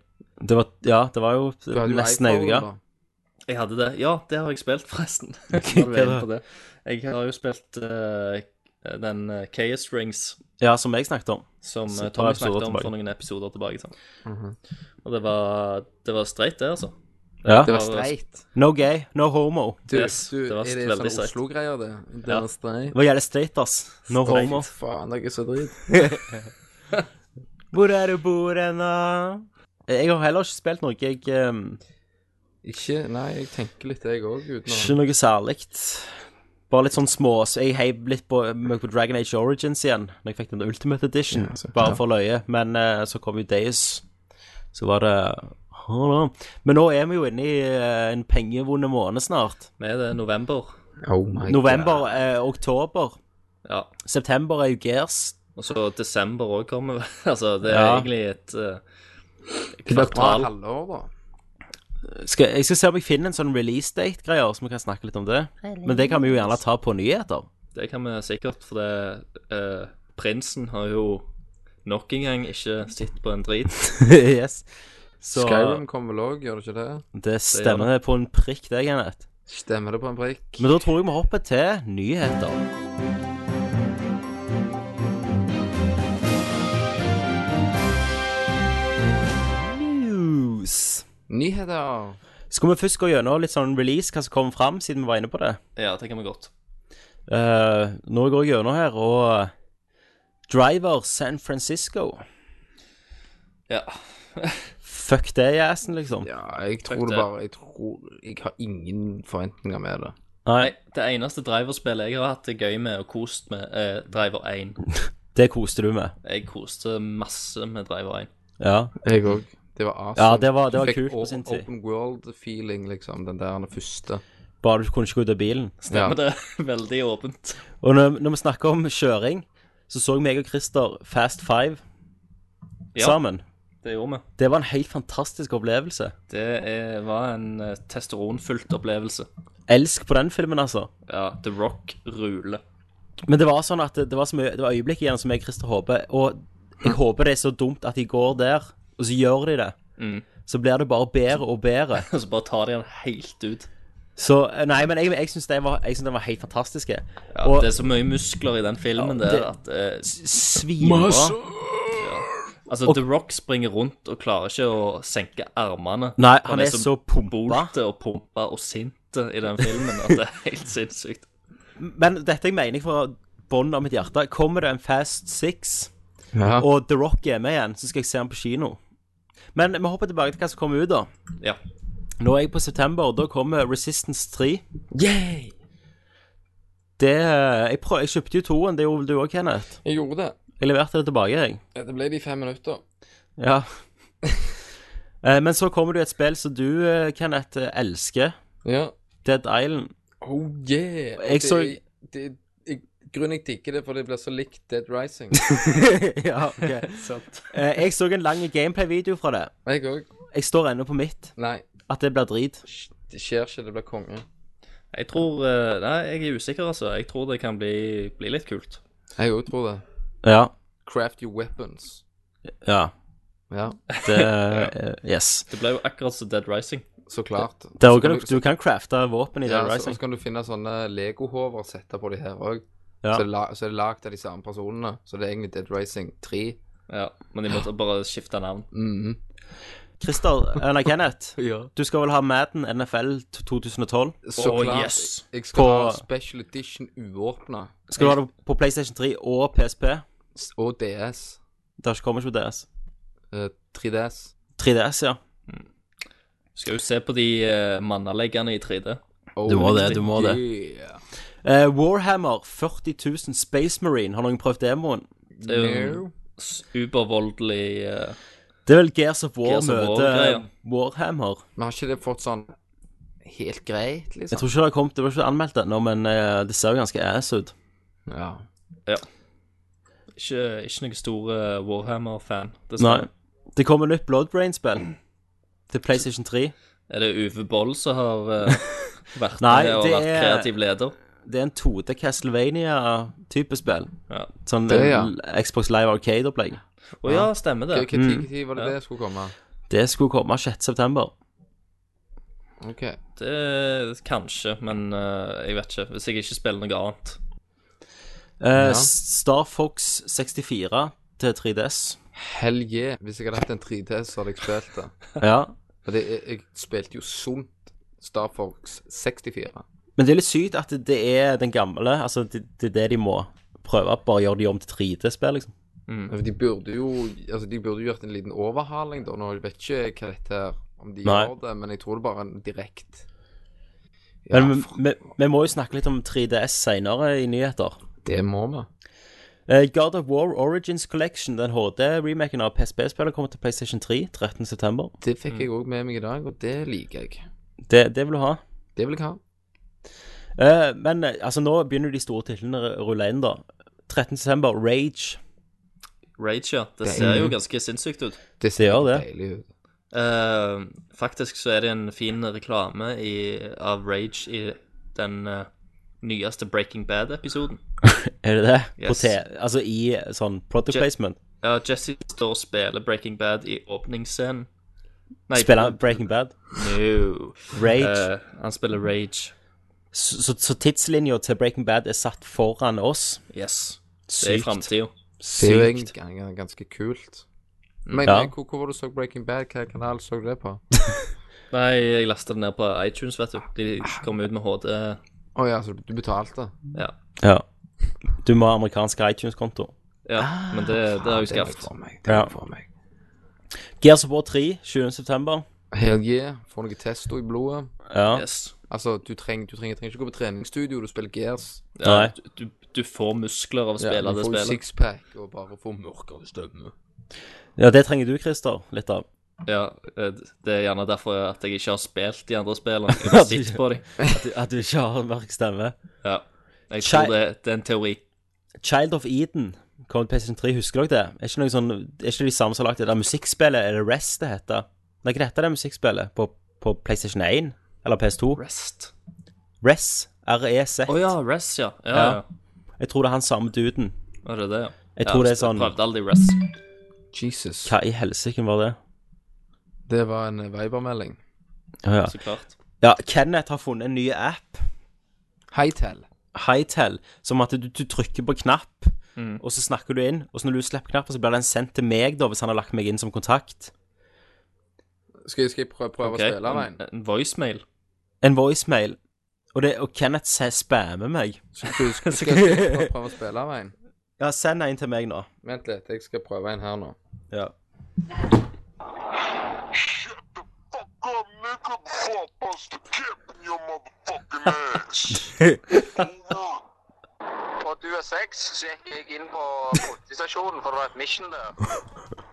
Det var, ja, det var jo
Du hadde jo
nesten ei
iPhone,
uke.
da.
Jeg hadde det. Ja, det har jeg spilt, forresten. Når du er inne på det. Jeg har jo spilt eh, den eh, Chaos Rings
Ja, som jeg snakket om.
som
Så
eh,
et par episoder
Tommy snakket om
tilbake.
for noen episoder tilbake. Sånn. Og det var, det var streit, det, altså.
Ja.
Det var
Bare-
streit.
No gay, no homo.
Du,
Yes,
du,
det var
er det
veldig
sånn
streit.
Oslo-greier, det? Det
Ja.
var streit.
Det var jævlig straight, ass. No homo.
Faen, dere er så drit.
Hvor er du bor ennå? Jeg har heller ikke spilt noe. Jeg um,
Ikke Nei, jeg tenker litt, jeg òg, uten å
Ikke noe særlig. Bare litt sånn små så Jeg heiv litt på, meg på Dragon Age Origins igjen, når jeg fikk den Ultimate Edition,
Ja, så-
bare
ja.
for løye. Men eh, så kom jo Deus. Så var det Hold on. Men nå er vi jo inne i eh, en pengevond måned snart.
Med det november.
Oh my
November, eh, oktober.
Ja.
September er jo Gears.
Og så desember òg kommer. altså, det er
Ja.
egentlig et eh,
Det blir et bra
kvartal.
halvår, da.
Skal, jeg skal se om jeg finner en sånn release date-greier, så vi kan snakke litt om det. Men det kan vi jo gjerne ta på nyheter.
Det kan vi sikkert, for det eh, Prinsen har jo nok en gang ikke sett på en drit.
yes. Så
Skyrim kommer vel òg, gjør det ikke det?
det stemmer på en prikk, det, Kenneth.
Stemmer det på en prikk?
Men da tror jeg vi hopper til nyheter. News.
Nyheter!
Skal vi først gå gjennom litt sånn release, hva som kom fram, siden vi var inne på det?
Ja, det kan vi godt.
Eh, nå går jeg gjennom her, og eh, Driver San Francisco.
Ja.
Fuck det i assen, liksom.
Ja, jeg tror det
det.
bare Jeg tror Jeg har ingen forventninger med det.
Nei,
Det eneste driverspillet jeg har hatt det gøy med og kost med, er Driver 1.
det koste du med.
Jeg koste masse med Driver 1.
Ja.
Jeg òg. Det var awesome.
Ja, det var- det var
Du fikk
kult på
o-
sin tid.
Open world-feeling, liksom. Den der den første.
Bare du kunne ikke gå ut av bilen.
Ja.
Men det er veldig åpent.
Og når, når vi snakker om kjøring, så så meg og Christer Fast Five
Ja.
sammen.
Det gjorde vi.
Det var en helt fantastisk opplevelse.
Det er, var en eh, testosteronfylt opplevelse.
Elsk på den filmen, altså.
Ja, The Rock ruler.
Men det var sånn at det, det var, så mye, det var øyeblikk igjen som jeg og Christer håper. Og jeg håper det er så dumt at de går der, og så gjør de det. Så blir det bare bedre og bedre.
Og så bare tar de han helt ut.
Så eh, Nei, men jeg, jeg syns den var, jeg synes den var helt fantastisk.
Ja,
og
det er så mye muskler i den filmen
Ja, det-
der at eh,
svinbra.
Altså, The Rock springer rundt og klarer ikke å senke armene.
Nei, han er så pumpa.
bolte og pumpa og sinte i den filmen at det er helt sinnssykt.
Men dette jeg mener jeg fra bånn av mitt hjerte. Kommer det en Fast Six?
Ja.
og The Rock er med igjen, så skal jeg se han på kino. Men vi hopper tilbake til hva som kommer ut, da.
Ja.
Nå er jeg på september, og da kommer Resistance 3. Det eh, Jeg, prøv, jeg kjøpte jo toen, det gjorde du òg, Kenneth.
Jeg gjorde det. Eh,
Jeg leverte det tilbake, jeg.
Det ble de fem minutter.
Ja. Eh, Men så kommer det jo et spill som du, eh, Kenneth, eh, elsker.
Ja.
Dead Island.
Oh yeah. Og
Jeg så-
det, det, jeg, Grunnen jeg digger det, for det blir så likt Dead Rising.
ja, ok. Eh, jeg så en lang gameplay-video fra det.
Jeg òg.
Jeg står ennå på mitt.
Nei,
At det blir drit.
det skjer ikke. Det blir konge.
Jeg tror eh, Nei, jeg er usikker, altså. Jeg tror det kan bli, bli litt kult.
Jeg òg tror det.
Ja.
Craft your weapons.
Ja.
Ja,
Det eh, Yes.
Det ble jo akkurat som Dead Rising.
så klart.
Det er
Så
også,
kan
du, du kan crafte våpen i
ja,
Dead
så-
Rising.
Så kan du finne sånne legohover og sette på de her òg.
Ja.
Så, er det la- så er det lagd av de samme personene. Så det er egentlig Dead Racing 3.
Ja, Men de måtte bare skifte navn.
Mhm.
Christer, eh, nei, Kenneth.
Ja.
Du skal vel ha Madden NFL t- 2012?
Så
Åh,
klart.
yes.
Jeg skal
På-
ha Special Edition uåpna.
Skal du ha det på PlayStation 3 og PSP?
Og DS.
Det har ikke kommet på DS.
Eh, 3DS.
3DS, ja.
Skal jo se på de uh, manneleggene i 3D.
Oh,
Du må det, du må det.
Yeah.
Eh, Warhammer 40 000 Space Marine. Har noen prøvd demoen?
Det er jo en supervoldelig eh,
Det er vel Gears of War
Gears of War,
møte
greier.
Warhammer.
Men har ikke det fått sånn helt greit,
Jeg
liksom?
tror ikke det har kommet, det var ikke anmeldt ennå, men eh, det ser jo ganske ass ut.
Ja.
ikke, ikke noen stor eh, Warhammer-fan.
Nei.
dessverre.
Det kommer nytt Bloodbrain-spill til PlayStation 3.
Er det Uve Boll som har eh, vært
Nei,
med og
det
vært
er-
kreativ leder?
Det er en 2D Castlevania-type spill.
Ja.
Sånn
Det, ja.
eh, Xbox Live Arcade-opplegg.
Å ja, stemmer det.
Hva
Mm.
tid hva tid var det det skulle komme?
Det skulle komme 6.9.
OK.
det Eh, kanskje, men eh, jeg vet ikke. Hvis jeg ikke spiller noe annet.
Eh, Star Fox 64 til 3DS.
Hell yeah. Hvis jeg hadde hatt en 3DS, så hadde jeg spilt det.
Ja.
For det, jeg, jeg spilte jo sunt Star Fox 64.
Men det er litt sykt at det- det er den gamle Altså, det, det er det de må prøve. Bare gjøre de om til 3D-spill, liksom.
For De burde jo altså de burde jo gjort en liten overhaling, da. Nå jeg vet ikke hva dette her om de
Nei.
gjør det, men jeg tror det bare er en direkte Ja,
Men vi-
fuck,
vi- vi må jo snakke litt om 3DS seinere i nyheter.
det må vi.
Eh, God of War Origins Collection, den HD-remaken av PSP-spillet, kommer til PlayStation 3 13.9.
Det fikk jeg òg med meg i dag, og det liker jeg.
Det, det vil du ha.
Det vil jeg ha.
Eh, men eh, altså, nå begynner de store titlene å rulle inn, da. 13.9. Rage.
Rage, ja. Det
Det er
ser jo
ingen-
ganske sinnssykt ut.
Det
gjør det.
deilig ut.
Eh, faktisk så er det en fin reklame i, av Rage i den eh, nyeste Breaking Bad-episoden.
Er det det? På
Yes.
T altså i eh, sånn product
Je-
placement.
Ja, Jesse står og spiller Breaking Bad i åpningsscenen. Nei,
Spiller Breaking Bad.
No.
Rage.
Eh, han spiller Rage.
Så, så, så tidslinja til Breaking Bad er satt foran oss.
Yes. Det er i
Sykt.
framtida.
Det er jo
Sykt.
egentlig gans- ganske kult. Men
Ja.
men hvor, hvor var du så Breaking Bad? Hvilken kanal så du det på? Å
Nei, jeg lasta det ned på iTunes, vet du. De kom ut med HD.
ja, så du betalte?
Ja.
Ja. Du må ha amerikansk iTunes-konto.
ja. Men det, det har jeg
Det må jeg
skaffet.
få meg.
Ja.
Det må jeg få meg.
Gears of War 3, 20.9.
Hell yeah. Får noe testo i blodet.
Ja.
Yes.
Altså, du trenger, du trenger, trenger ikke gå på treningsstudio, du spiller Gears.
Nei.
Ja, du, du- du får muskler av å spille
du
det
får jo
spillet.
sixpack og bare får mørkere stemme.
ja, det trenger du, Christer. Litt av.
Ja, eh, det er gjerne derfor at jeg ikke har spilt de andre spillene. Jeg har sett på dem.
At du, at du ikke har en mørk stemme.
Ja. Jeg
Chai-
tror det, det er en teori.
Child of Eden kom til PlayStation 3, husker dere det? Er ikke, noe sånn, er ikke de samme som har lagt det der musikkspillet? Er det Rest det heter? Nei, hva heter det musikkspillet på, på PlayStation 1? Eller PS2?
Rest.
Res. R-E-Z.
Å ja, Rest, ja. Ja,
Ja.
ja.
E Jeg tror det er han samme duden.
Var det det, ja?
Jeg tror
ja,
det er sånn-
Prøvde aldri Rest.
Jesus.
Hva i helsike var det?
Det var en eh, Viber-melding.
Ja.
Så klart.
ja, Kenneth har funnet en ny app,
Hightel.
Hightel, som at du, du trykker på knapp,
Mm.
og så snakker du inn, og så når du slipper knappen, så blir den sendt til meg, da, hvis han har lagt meg inn som kontakt.
Skal, jeg- skal jeg prøve, prøve
Ok,
å spille
En,
den?
en voicemail.
En voicemail. Og, det, og Kenneth se- spammer meg.
Skal, skal, skal, skal jeg prøve, prøve å spille den?
Ja, send en til meg nå.
Vent litt, jeg skal prøve en her nå.
Ja.
Shut the fuck up, nigga, before I bust the cap in your motherfucking ass. Over.
På Due 6 så gikk jeg inn på politistasjonen, for det var et mission der.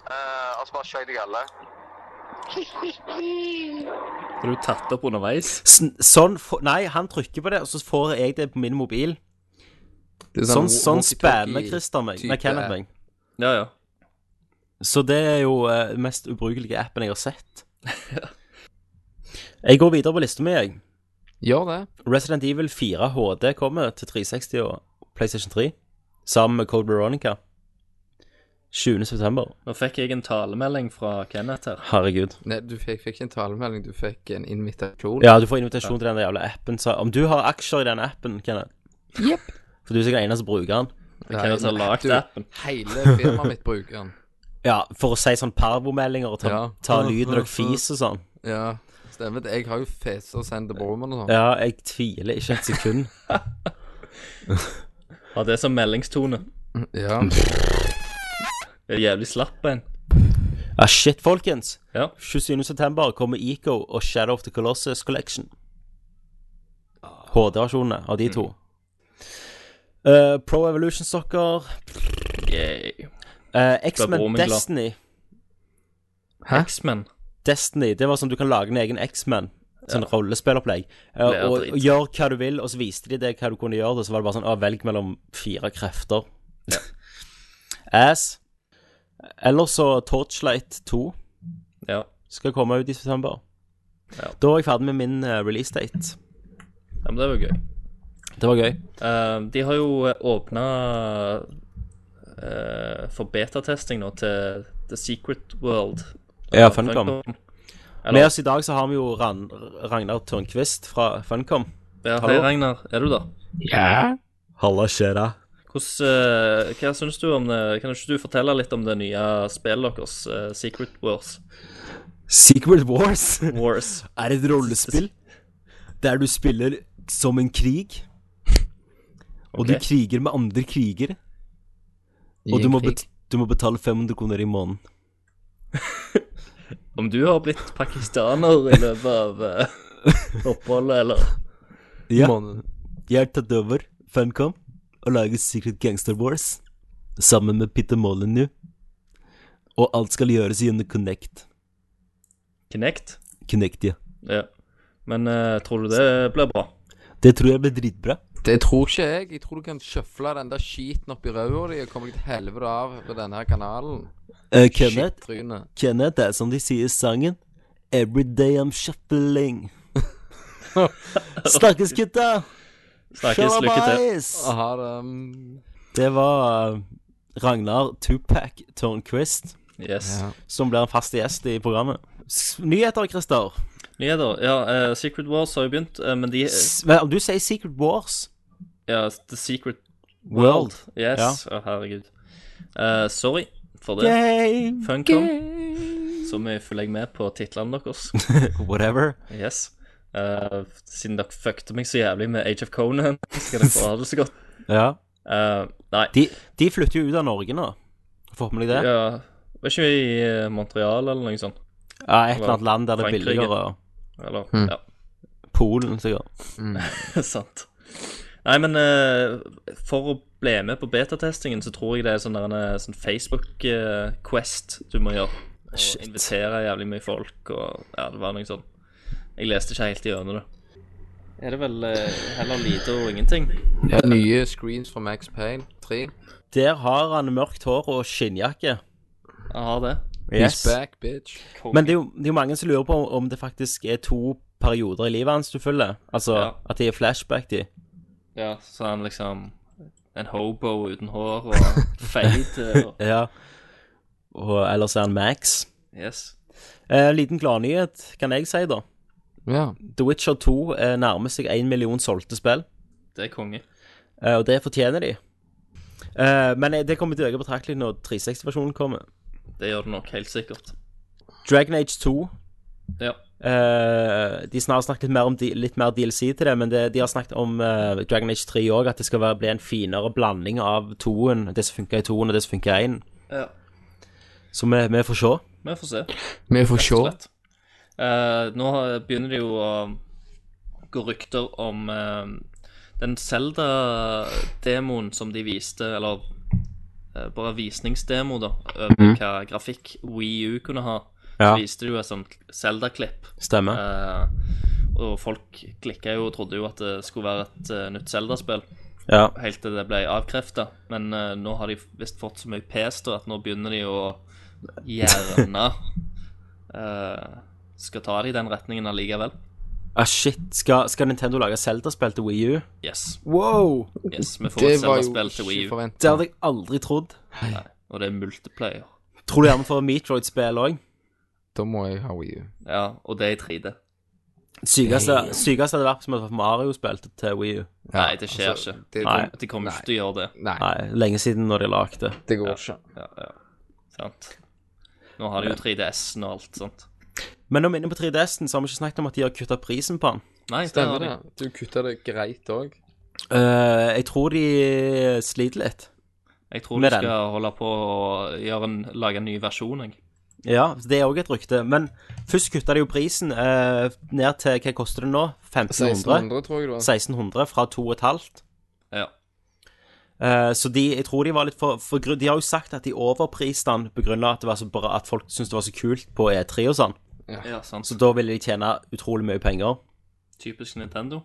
Eh, og så bare skjøt jeg alle.
Har du tatt opp underveis?
Sn- Sånn få- Nei, han trykker på det, og så får jeg det på min mobil.
Det er
Sånn, sånn
walkie-talkie
spammer Christer meg. Nei,
type
Kenneth
app.
meg.
Ja, ja.
Så det er jo eh, den mest ubrukelige appen jeg har sett. Jeg går videre på lista mi, jeg.
Gjør det.
Resident Evil 4 HD kommer til 360 og PlayStation 3 sammen med Code Veronica 20. september.
Nå fikk jeg en talemelding fra Kenneth her.
Herregud.
Nei, du fikk, fikk ikke en talemelding, du fikk en invitasjon.
Ja, du får invitasjon til den jævla appen. Så om du har aksjer i den appen, Kenneth For du er sikkert den eneste som bruker den.
Kenneth har lagd
du,
appen.
Hele firmaet mitt bruker den.
Ja, for å si sånn pervomeldinger og ta,
Ja.
ta lyden når dere fiser og sånn.
Ja, stemmer det. Jeg har jo fesa og sendt til broren min og sånn.
Ja, jeg tviler ikke et sekund.
Har det som meldingstone.
Ja.
Det er jævlig slapp en.
Ja, shit, folkens.
Ja.
27. september kommer Eco og Shadow of the Colossus Collection. HD-versjonene av de to.
Mm.
Eh, Pro Evolution Soccer,
Yay.
eh,
Da er
X-Men
broren min glad.
Destiny.
X-Men.
Destiny, det var sånn du kan lage en egen X-Men. Sånn rollespillopplegg. Eh,
Det er
og,
drit.
og gjør hva du vil, og så viste de deg hva du kunne gjøre, og så var det bare sånn ah, Velg mellom fire krefter. Ass. Eller så Torchlight 2
Ja.
skal komme ut i september.
Ja.
Da var jeg ferdig med min eh, release date.
ja, men det var gøy.
Det var gøy.
Eh, de har jo åpna for betatesting nå til The Secret World.
Ja,
av
Funcom.
Eller,
Med oss i dag så har vi jo Ran Ragnar Tørnquist fra Funcom.
ja, hei,
hallo?
Ragnar. Er du der?
Halla, skjer det?
Hvordan, eh, hva syns du om det? Kan ikke du fortelle litt om det nye spillet deres, eh, Secret Wars?
Secret Wars er
Wars.
et rollespill der du spiller som en krig. Og du
Ok.
kriger med andre krigere.
I
Og du
en
må,
krig.
bet du må betale 500 kroner i måneden.
Om du har blitt pakistaner i løpet av eh, oppholdet, eller
Ja,
Måneden.
jeg har tatt over Funcom og lager Secret Gangster Wars sammen med Peter Molyneux. Og alt skal gjøres gjennom Connect.
Kinect?
Connect, ja.
Ja. Men eh, tror du det blir bra?
Det tror jeg blir dritbra.
Det tror ikke jeg. Jeg tror du kan sjøfle den der skiten oppi ræva di og komme deg til helvete av på denne her kanalen.
Eh, Kenneth,
Skittryne.
Kenneth, det er som de sier i sangen Every day I'm shuffling Snakkes gutta
Snakkes. Lykke til. Ah.
Shalabais!
Ha det. mm.
Det var eh, Ragnar Tupac Turnquist
Yes.
Ja.
Som blir en fast gjest i programmet S- Nyheter, Christer
Nyheter. Ja, eh, Secret Wars har jo begynt, eh, men de
S- men Om du sier Secret Wars
Ja, The Secret
World
Yes. Å, herregud. Eh, sorry for det.
Game
Funcom. Så mye følger jeg med på titlene deres.
Whatever
Yes. Eh, siden dere fuckte meg så jævlig med Age of Conan, skal dere få ha det så godt.
ja.
Eh, nei.
de, de flytter jo ut av Norge nå Forhåpentlig det ja.
Ja, var ikke vi i eh, Montreal eller noe sånt?
Et eller annet land der det er
Frankrike.
billigere
Eller,
Hmm.
ja.
Polen, sikkert
Sant. Nei, men eh, for å bli med på betatestingen, så tror jeg det er sånn, der en, eh, sånn Facebook-quest du må gjøre. Og
Shit.
invitere jævlig mye folk, og ja, det var noe sånn. Jeg leste ikke helt gjennom det. Er det vel eh, heller lite og ingenting?
Ja, nye screens fra Max Payne 3.
Der har han mørkt hår og skinnjakke.
Jeg har det.
He's back, bitch.
Men det er, jo, det er jo mange som lurer på om det faktisk er to perioder i livet hans du følger. Altså
Ja.
at de er flashback, de.
Ja, så er han liksom en hobo uten hår og feit. eh, og-
Ja. Og ellers er han Max.
Yes.
Eh, liten gladnyhet, kan jeg si, da.
Ja.
The Witcher 2 eh, nærmer seg én million solgte spill,
Det er konge.
eh, og det fortjener de. Eh, men det kommer til å øke betraktelig når 360-versjonen kommer.
Det gjør det nok helt sikkert.
Dragon Age 2
Ja.
Eh, de snar- har snakket litt mer om di- litt mer DLC til det, men det, de har snakket om eh, Dragon Age 3 òg, at det skal være, bli en finere blanding av toen, det som funka i toen, og det som funka i én.
ja.
Så vi, vi får se.
Vi får se.
Vi får se.
slett. Eh, nå har- begynner det jo å gå rykter om eh, den Zelda-demoen som de viste, eller eh, bare visningsdemo, da, over hva grafikk Wii U kunne ha.
Ja.
Så viste du et sånt Zelda-klipp.
Stemmer.
Eh, og folk klikka jo og trodde jo at det skulle være et eh, nytt Zelda-spill.
Ja.
Helt til det ble avkrefta. Men eh, nå har de visst fått så mye pester at nå begynner de å gjerne eh, Skal ta det i den retningen allikevel.
Ah, shit. Skal, skal Nintendo lage Zelda-spill til Wii U?
Yes.
Wow!
yes Vi får
Det
et
var jo
Zelda-spill til Wii U,
ikke
Det
forventa.
hadde jeg aldri trodd.
og det er multiplayer.
Tror du gjerne får Metroid-spill òg?
Da må jeg ha Wii U.
Ja, og det er i 3D.
Sykeste sykeste hadde vært som å få Mario-spill til- til Wii U.
Nei, det skjer ikke.
Det,
Nei.
De kommer ikke til å gjøre det.
altså- nei,
Nei, lenge siden når de lagde det.
det går ikke.
Ja, ja. Sant. Nå har de jo 3DS-en og alt sånt.
Men når vi er inne på 3DS-en, så har vi ikke snakket om at de har kutta prisen på den.
Nei, det
Stemmer
har de.
det. Du kutta det greit òg.
Eh, jeg tror de sliter litt.
Jeg tror
Med
de
den.
skal holde på å gjøre en, lage en ny versjon. Jeg.
Ja, det er òg et rykte. Men først kutta de jo prisen eh, ned til hva koster det nå? 1500?
1600, tror jeg det var.
1600 fra 2500.
Ja.
Eh, så de, jeg tror de var litt for, for grunn- De har jo sagt at de overpriste den pga. at det var så bra At folk syntes det var så kult på E3 og sånn.
ja, sant.
Så da ville de tjene utrolig mye penger.
Typisk Nintendo.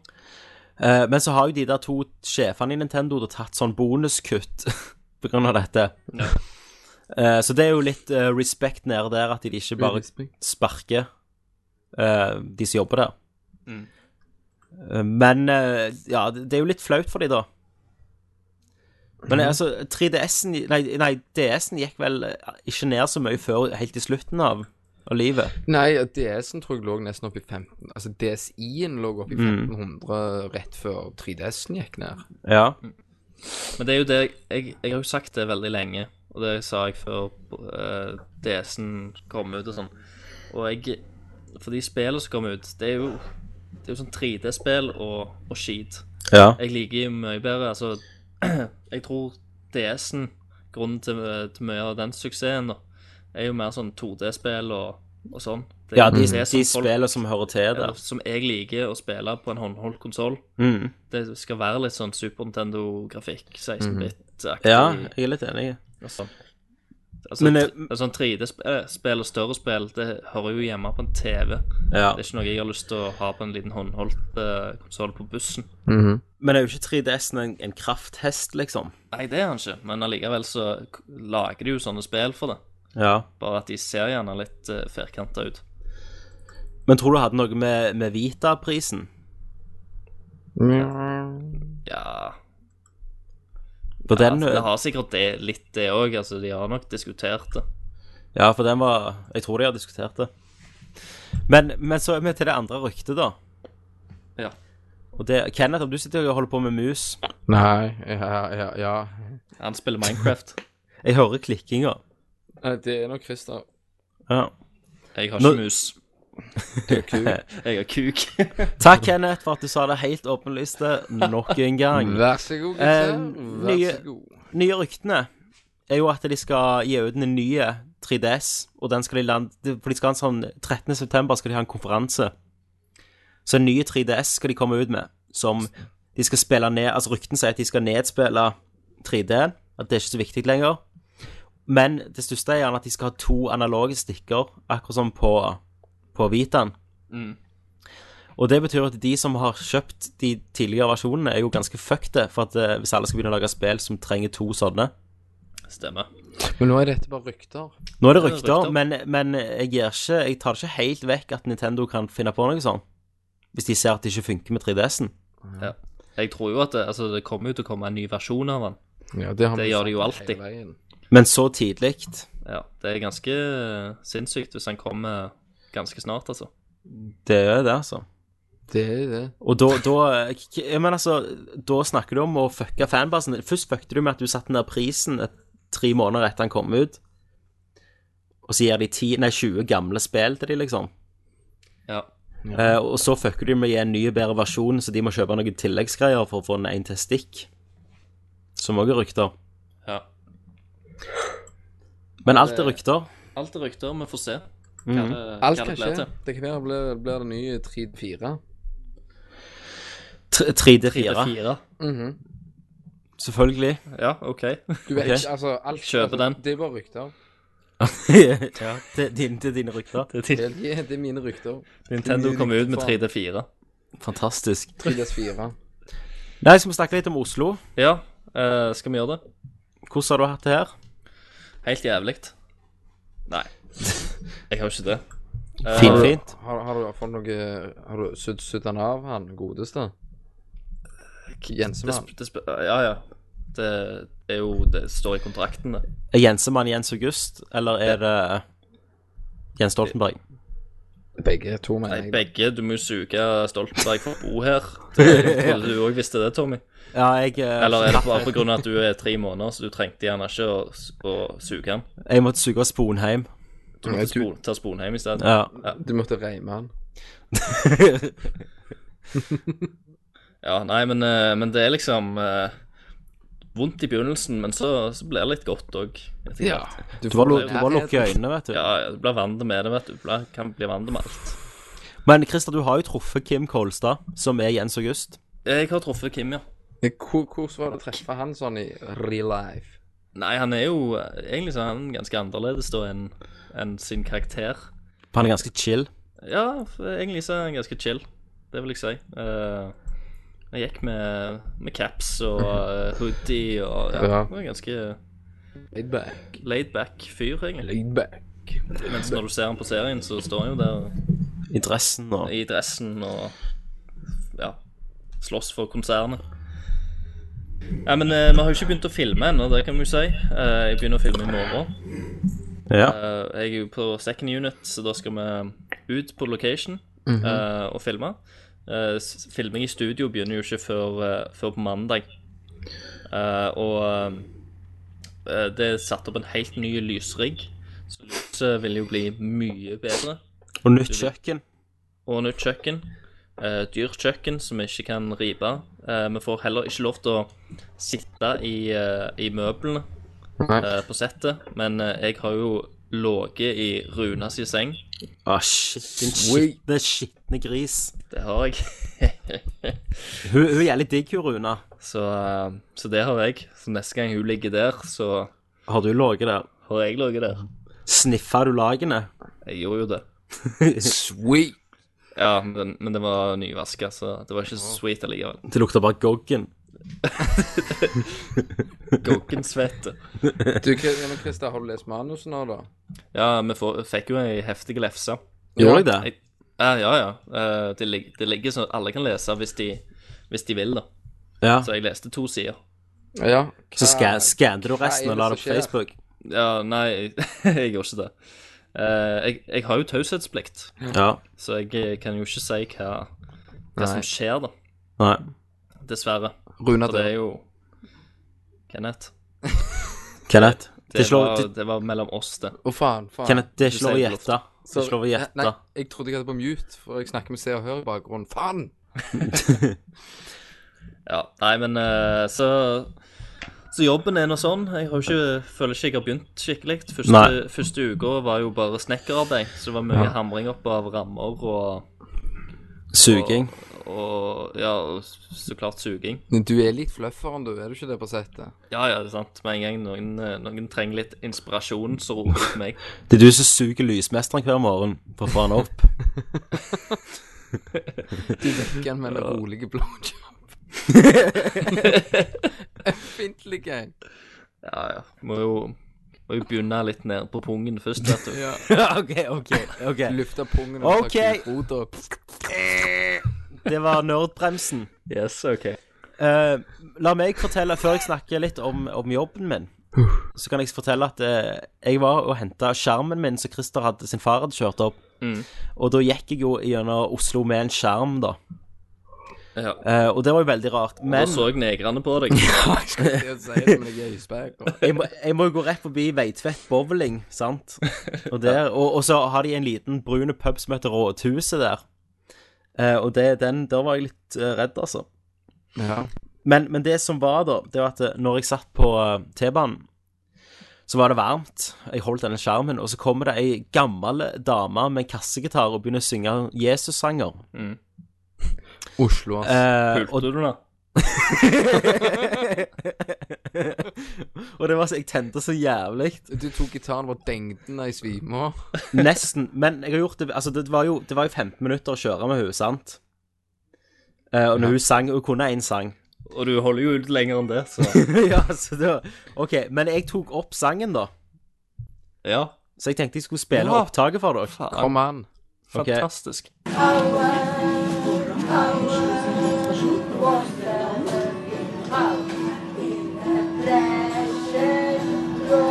Eh, men så har jo de der to sjefene i Nintendo da tatt sånn bonuskutt pga. dette.
Ja.
Eh, så det er jo litt eh, respekt nede der at de ikke bare
Mm.
sparker eh, de som jobber der.
Mm.
Eh, men eh, ja, det det er jo litt flaut for de da.
Mm.
Men altså, 3DS-en Nei, nei DS-en gikk vel eh, ikke ned så mye før helt i slutten av, av livet.
Nei, DS-en tror jeg lå nesten opp i 15 Altså DSI-en lå opp i
Mm.
1500 rett før 3DS-en gikk ned.
Ja.
Men det er jo det jeg, jeg, jeg har jo sagt det veldig lenge, og det sa jeg før eh, DS-en kom ut og sånn. Og jeg For de spillene som kom ut, det er jo, det er jo sånn 3D-spill og, og skit.
Ja.
Jeg liker jo mye bedre Altså, jeg tror DS-en Grunnen til, til mye av den suksessen da, Er jo mer sånn 2D-spill og, og sånn Det er
ja,
jo
de,
det
de
folk-
spillene som hører til
eller,
der.
Som jeg liker å spille på en håndholdt konsol
Mm.
Det skal være litt sånn Super Nintendo-grafikk
Mhm.
16-bit-aktig
Ja, jeg er litt enig.
og sånn. Altså,
Men,
Men,
eh,
sånn 3D-spill og større spill Det hører jo hjemme på en TV
Ja.
Det er ikke noe jeg har lyst til å ha på en liten håndholdt eh, konsol på bussen
Men er jo ikke 3DS-en en, en krafthest, liksom?
Nei, det er han ikke, men allikevel så k- lager de jo sånne spill for det.
Ja.
Bare at de ser gjerne litt uh, firkanta ut.
Men tror du det hadde noe med, med Vita-prisen?
Ja,
For den,
altså, Det har sikkert det, litt, det òg. Altså, de har nok diskutert det.
ja, for den var Jeg tror de har diskutert det. Men, men så er vi til det andre ryktet, da.
Ja.
Og det, Kenneth, om du sitter og holder på med mus
Nei, ja, ja, ja.
Han spiller Minecraft.
Jeg hører klikkinga.
Nei, Det er nok Christer.
Ja.
Jeg har
Nå-
ikke mus. Jeg har kuk.
Takk, Kenneth, for at du sa det helt åpenlyste nok en gang.
Vær så god,
Eh,
gutter. Vær
nye-
så god.
nye ryktene er jo at de skal gi ut en ny 3DS, og den skal de land... For de skal ha en sånn 13. september skal de ha en konferanse. Så en ny 3DS skal de komme ut med, som de skal spille ned Altså rykten sier at de skal nedspille 3D-en, at det er ikke så viktig lenger. Men det største er gjerne at de skal ha to analoge stikker, akkurat som på, på Vitaen. Og det betyr at de som har kjøpt de tidligere versjonene, er jo ganske fucked for at eh, hvis alle skal begynne å lage spill som trenger to sånne.
Stemmer.
Men nå er dette bare rykter.
Nå er det
Ja,
rykter,
rykter.
Men, men jeg, gir ikke, jeg tar det ikke helt vekk at Nintendo kan finne på noe sånt. Hvis de ser at det ikke funker med 3DS-en.
Ja. Jeg tror jo at det, altså, det kommer jo til å komme en ny versjon av den.
Ja, det har
Det
vi
gjør de jo
sagt hele
alltid.
veien.
Men så tidlig
Ja, Det er ganske eh, sinnssykt hvis den kommer ganske snart, altså.
Det er det, altså.
Det er det.
Og da, da k- jeg mener, altså, da snakker du om å fucke fanbasen. Først fucket du med at du satte ned prisen et, tre måneder etter han kom ut. Og så gir de 10, nei, 20 gamle spill til de, liksom.
Ja.
Eh, og så fucker de med å gi en ny, bedre versjon, så de må kjøpe noen tilleggsgreier for å få en en til stikk. Som òg er rykter.
ja.
Men alt er rykter.
Alt er rykter, vi får se hva
Mhm.
det,
Alt
hva
kan
det blir
skje.
til.
Det kan være blir, blir det nye 3-4.
Tr- 3D4.
3-4.
Mhm.
Selvfølgelig.
Ja, OK.
Du vet
Ok.
ikke, altså alt,
Kjøper
altså,
den.
Det er bare rykter.
ja, til, din, til dine rykter.
Det er til-
Det er, det er mine rykter.
Nintendo kom ut med 3D4.
Fantastisk.
3DS4.
Nei, så må vi snakke litt om Oslo.
Ja, eh, skal vi gjøre det?
Hvordan har du hatt det her?
Helt jævlig. Nei. Eh, Jeg har jo ikke det.
Fint, fint.
Har, har du fått noe Har du sydd sydd han av, han godeste?
Det,
Jensemann.
sp- det sp ja, ja. Det er jo Det står i kontrakten, det.
Er Jensemann Jens August, eller er det Jens Stoltenberg?
Begge to, mener
Nei,
jeg.
begge. Du må jo suge Stoltenberg for å bo her. Det- Jeg trodde du òg visste det, Tommy.
Ja, jeg eh,
Eller er det bare pga. at du er tre måneder, så du trengte gjerne ikke å, å suge han?
Jeg måtte suge av Sponheim.
Du måtte spo ta Sponheim i stedet.
Ja.
Du måtte reime han.
Ja, nei, men, eh, men det er liksom eh, vondt i begynnelsen, men så, så blir det litt godt òg. Ja.
Du bare, lu- du bare lukker øynene, vet du.
ja, du blir vant med det, vet du. Du blir- kan bli vant med alt.
Men Christer, du har jo truffet Kim Kolstad, som er Jens August.
Jeg har truffet Kim, ja.
Eh, Hvor, hvordan var det å treffe han sånn i real life?
Nei, han er jo eh, egentlig så er han ganske annerledes da enn enn sin karakter.
Han er ganske chill.
Ja, for egentlig så er han ganske chill. Det vil jeg si. Eh, jeg gikk med, med caps og eh, hoodie og ja,
Ja.
det var en ganske
Laidback.
laid back fyr, egentlig.
Laidback.
Mens når du ser han på serien, så står han jo der
I dressen og
i dressen og ja, slåss for konsernet. Ja, men eh, vi har jo ikke begynt å filme ennå, det kan vi jo si. Eh, jeg begynner å filme i morgen.
Ja.
Eh, jeg er jo på second unit, så da skal vi ut på location eh, og filme. Eh, s- filming i studio begynner jo ikke før, eh, før på mandag. Eh, og eh, det er satt opp en helt ny lysrigg, så lyset vil jo bli mye bedre.
Og nytt kjøkken.
Og nytt kjøkken. Uh, dyrt kjøkken som vi ikke kan ripe. Eh, vi får heller ikke lov til å sitte i, eh, i møblene eh, på settet, men eh, jeg har jo ligget i Runas i seng.
Å, Ah, shit, din skitne, skitne gris.
Det har jeg.
Hun, hun er jævlig digg, hun Runa.
så, eh, så det har jeg. Så neste gang hun ligger der, så
Har du ligget der?
har jeg ligget der.
Sniffa du lagene?
Jeg gjorde jo det.
Sweet.
Ja, men, men det var nyvaska, så det var ikke så sweet allikevel.
Det lukter bare goggen.
Goggensvette.
Eh, Du, Chris- ja, men Christer, har du lest manuset nå, da?
Ja, vi får, fikk jo ei heftig lefse.
Gjorde jeg det?
Jeg- Ja, ja. ja. Eh, Det, lig, det ligger sånn at alle kan lese hvis de, hvis de vil, da.
Ja.
Så jeg leste to sider.
Ja.
Så ska- skanner du
hva
resten
er
og
det
la det på
som skjer?
Facebook?
Ja, nei, jeg gjorde ikke det. Eh, jeg, jeg har jo taushetsplikt,
Ja.
så jeg eh, kan jo ikke si hva, hva som
Nei.
skjer, da.
Nei.
Dessverre.
Runa
For det
dør.
er jo Kenneth.
Kenneth, det
Det
er ikke lov
var,
det-
det var mellom oss, det.
Å, faen. faen.
Kenneth, det er ikke
du
lov å
sier det
gjette. Det er ikke lov å
Nei,
gjette.
jeg trodde jeg hadde på mute, for jeg snakker med Se og Hør i bakgrunnen. Faen!
Ja, nei, men eh, så Så jobben er nå sånn. Jeg har jo ikke, føler ikke jeg har begynt skikkelig. Første,
Nei.
første uka var jo bare snekkerarbeid, så det var mye hamring opp av rammer og,
Suging.
og Ja, og så klart suging.
Men Du er litt flufferen, du. Er du ikke det på settet?
Ja, ja, det er sant. Med en gang noen, eh, noen trenger litt inspirasjon, så roper de til meg.
Det er du som suger lysmesteren hver morgen for å få han opp.
Ikke en med en rolig blowjob. Ømfintlig en.
Ja, ja. Må jo, må jo begynne litt ned på pungen først, vet du.
Ja.
OK, OK. ok
Lufta pungen og
Ok.
ta kufot og
Det var nerdbremsen.
Yes, ok.
Eh, la meg fortelle, før jeg snakker litt om, om jobben min, så kan jeg fortelle at eh, jeg var og henta skjermen min som Christer hadde, sin far hadde kjørt opp.
Mm.
Og da gikk jeg jo gjennom Oslo med en skjerm, da.
Ja.
Eh, og det var jo veldig rart.
Da
Men
så jeg negrene på deg.
Det sier jeg, men jeg er isberg.
jeg må, jeg må jo gå rett forbi Veitvet bowling, sant? Og, der, og, og så har de en liten brune pub som heter Rådhuset der. Eh, og det, den, der var jeg litt eh, redd, altså.
Ja.
Men, men det som var, da, det var at eh, når jeg satt på eh, T-banen, så var det varmt. Jeg holdt denne skjermen, og så kommer det ei gammel dame med en kassegitar og begynner å synge Jesus-sanger.
Oslo, ass.
Eh,
Pulte du da?
og det var så, jeg tente så jævlig.
Du tok gitaren og dengte i svima.
Nesten. Men jeg har gjort det Altså, det var jo, det var jo 15 minutter å kjøre med henne, sant? Eh, og når hun sang Hun kunne én sang.
Og du holder jo ut lenger enn det, så
ja, så det var OK. Men jeg tok opp sangen, da.
ja.
Så jeg tenkte jeg skulle spille
Ja.
opptaket for dere.
Kom an.
Ok.
Fantastisk.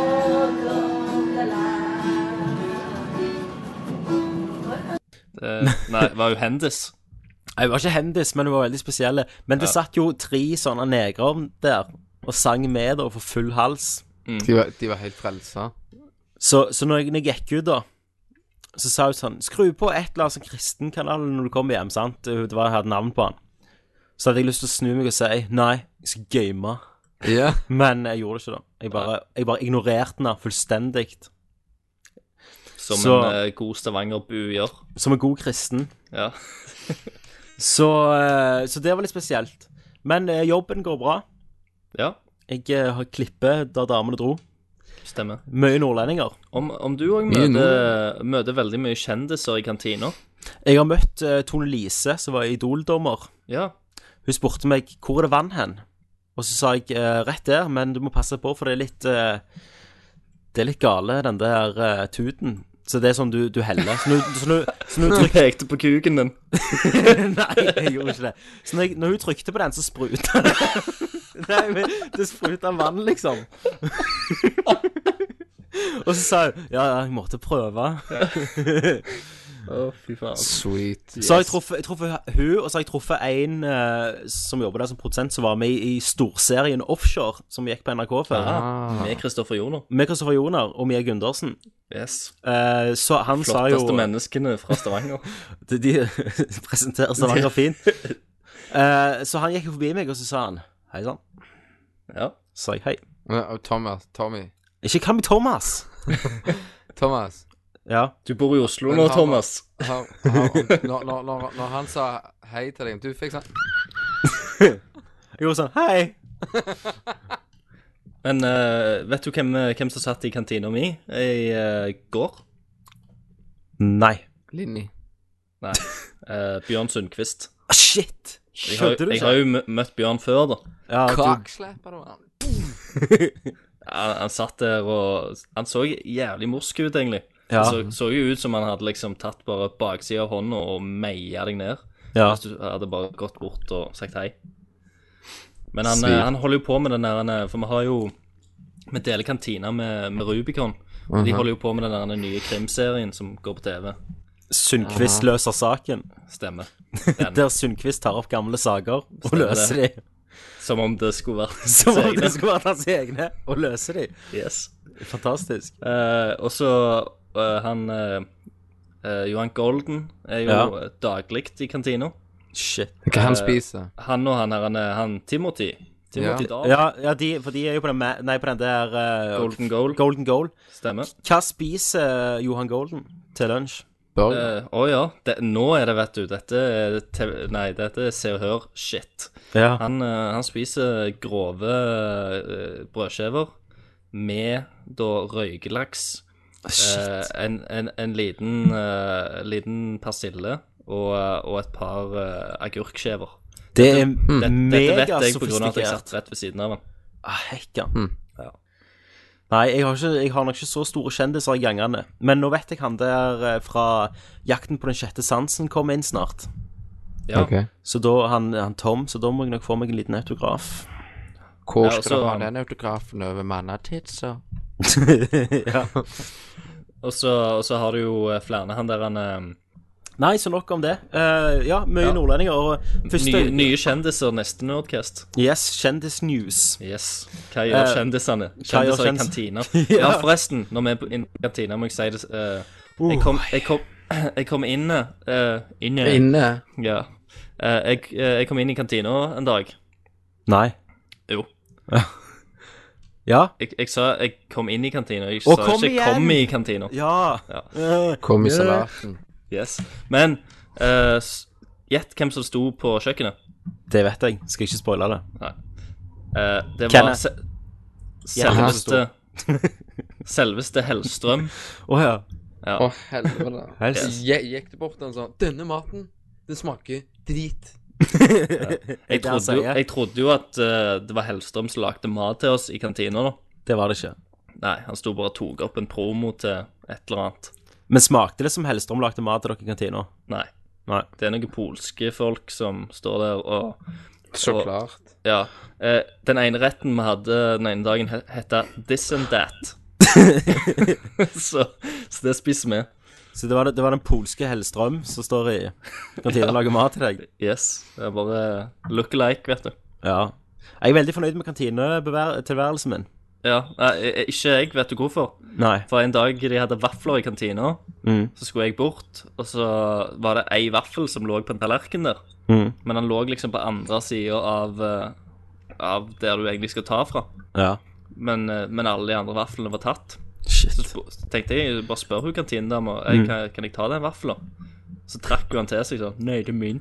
Det, nei, det var jo Hendis.
Nei, Hun var ikke hendis, men hun var veldig spesiell. Men det satt jo tre sånne negrer der og sang med da for full hals.
De var, de var helt frelsa.
Så, så når, jeg, når jeg gikk ut, da, så sa hun sånn Skru på et eller annet sånn kristenkanal når du kommer hjem, sant? Det var jeg hadde navn på han. Så hadde jeg lyst til å snu meg og si nei, jeg skal game.
Ja.
Men jeg gjorde det ikke, da. Jeg bare, jeg bare ignorerte henne fullstendig.
Som
Så-
en eh, god Stavanger-bu gjør.
Som en god kristen.
Ja.
Så, eh, så det var litt spesielt. Men eh, jobben går bra.
ja,
Jeg eh, har klippet da damene dro.
stemmer.
Mye nordlendinger.
Om, om du òg
Mye
møter, møter veldig mye kjendiser i kantina
Jeg har møtt eh, Tone Lise, som var Idol-dommer.
Ja.
Hun spurte meg hvor er det vann hen? Og så sa jeg eh, rett der, men du må passe på, for det er litt eh, Det er litt gale, den der eh, tuten. Så det er sånn du, du heller. Så når, så når, så når hun trykker
pekte på kuken din.
Nei, jeg gjorde ikke det. Så når, jeg, når hun trykte på den, så spruta det. Nei, men det spruta vann, liksom. Og så sa hun ja, ja, jeg måtte prøve.
Å, fy faen.
Sweet.
Så har jeg truffet, jeg truffet hun, og så har jeg truffet en eh, som jobber der som produsent, som var med i storserien Offshore, som gikk på NRK før.
Ah.
Med Kristoffer Joner.
Med Kristoffer Joner og Mia Gundersen.
Yes.
Eh, så han sa jo
Flotteste menneskene fra Stavanger.
De, de presenterer Stavanger fint. Eh, så han gikk jo forbi meg, og så sa han hei sann.
Ja.
Så sa jeg hei.
Ja, og Thomas, eh, Tommy.
Ikke Kami Thomas.
Thomas.
Ja.
Du bor i Oslo
Men
nå,
han-
Thomas.
Har, har, når, når, når, når han sa hei til deg Du fikk sånn
Jeg gjorde sånn hei.
Men eh, vet du hvem, eh, hvem som satt i kantina mi i eh, går?
Nei.
Linni.
Nei. Eh, Bjørn Sundquist.
Ah, shit!
Jeg har,
Skjønte du
jeg har
ikke?
jo mø- møtt Bjørn før, da.
Ja, du,
Kakslapper du han?
Han, han satt der og Han så jævlig morsk ut, egentlig.
Ja.
Det så, så jo ut som han hadde liksom tatt bare baksida av hånda og meia deg ned.
ja.
Hvis du hadde bare gått bort og sagt hei. Men han, eh, han holder jo på med den der han, eh, For vi har jo Vi deler kantina med, med Rubicon. Og
Mhm.
de holder jo på med den der han, nye krimserien som går på TV.
Sundquist løser saken.
Stemmer.
Der Sundquist tar opp gamle saker og
Stemmer
løser de.
det. Som om det skulle vært
Som om
egne.
det skulle vært hans egne, og løser de.
Yes.
Fantastisk.
Eh, og så eh, han eh, eh, Johan Golden er jo
Ja.
daglig i kantina.
Shit.
Hva han spiser?
Han og han her, han, eh, han Timothy. Timothy
Ja.
Dahl.
Ja, ja de, for de er jo på den, ma- nei, på den der eh,
Golden Goal.
Golden Goal.
Stemmer.
Hva spiser eh, Johan Golden til lunsj?
Burger.
Eh, Å ja. Det, nå er det, vet du. Dette er TV, Nei, dette er Se og Hør-shit.
Ja.
Han, eh, han spiser grove eh, brødskiver med da røykelaks, eh,
Shit.
en, en, en liten, eh, liten persille og, eh, og et par eh, agurkskiver.
Det er
Dette, hmm. dette vet
mega
jeg på grunn av at
sofistikert.
jeg satt rett ved siden av han.
Ah, Hekkan.
Ja.
Nei, jeg har, ikke, jeg har nok ikke så store kjendiser i gangene. Men nå vet jeg han der eh, fra Jakten på den sjette sansen kommer inn snart.
Ja.
Ok.
Så da han, han Tom, så da må jeg nok få meg en liten autograf.
Hvor
Ja,
skal
også-
du ha den autografen over mannatitsa?
ja.
Og så, og så har du jo eh, flere han der han eh,
Nei, så nok om det. Eh, ja, mye
Ja.
nordlendinger. Og første
nye, nye kjendiser neste Nerdcast.
Yes, kjendisnews.
Yes. Hva gjør
Eh,
kjendisene?
hva gjør
Kjendiser i
kjendis-
kantina.
Ja. Oh.
Ja, forresten, når vi er på inn- kantina, må jeg si det eh, Jeg kom, jeg kom, jeg kom inn eh, Inne.
Inne.
Ja. Eh, jeg, eh, jeg kom inn i kantina en dag.
Nei.
Jo.
Ja.
Jeg, jeg sa jeg kom inn i kantina. Jeg
Å,
sa
kom
ikke
igjen!
'kom i kantina'.
Ja.
Ja.
Eh,
Kom i salaten.
Yes. Men eh, s- gjett hvem som sto på kjøkkenet.
det vet jeg. Skal ikke spoile det.
Nei. Eh, det var
Kenneth.
Se- Selveste Selveste Hellstrøm.
Å ja.
Ja.
Å, helvete.
Helst.
Je- Gikk det bort til han sånn Denne maten, den smaker drit.
Jeg
Det han
trodde, jo,
sier.
jeg trodde jo at eh, det var Hellstrøm som lagde mat til oss i kantina. da
Det var det ikke.
Nei, han sto bare og tok opp en promo til et eller annet.
Men smakte det som Hellstrøm lagde mat til dere i kantina?
Nei.
Nei.
Det er noen polske folk som står der og
Så
Og-
klart.
Ja. Eh, den ene retten vi hadde den ene dagen, he- hette this and that. så, så det spiser vi.
Så det var, det, det var den polske Hellstrøm som står i kantina og lager mat til deg?
Yes. Det er bare look alike, vet du.
Ja. Jeg er veldig fornøyd med kantinetilværelsen min.
Ja, nei, eh, Ikke jeg, vet du hvorfor.
Nei.
For en dag de hadde vafler i kantina,
Mm.
så skulle jeg bort, og så var det ei vaffel som lå på en tallerken der.
Mm.
Men den lå liksom på andre sida av, eh, av der du egentlig skal ta fra.
Ja.
Men, eh, men alle de andre vaflene var tatt. Så
Shit.
sp- så tenkte jeg bare spør hun kantinedama mm. kan, kan jeg ta den vaffelen. Så trakk hun han til seg sånn. Nei, det er min.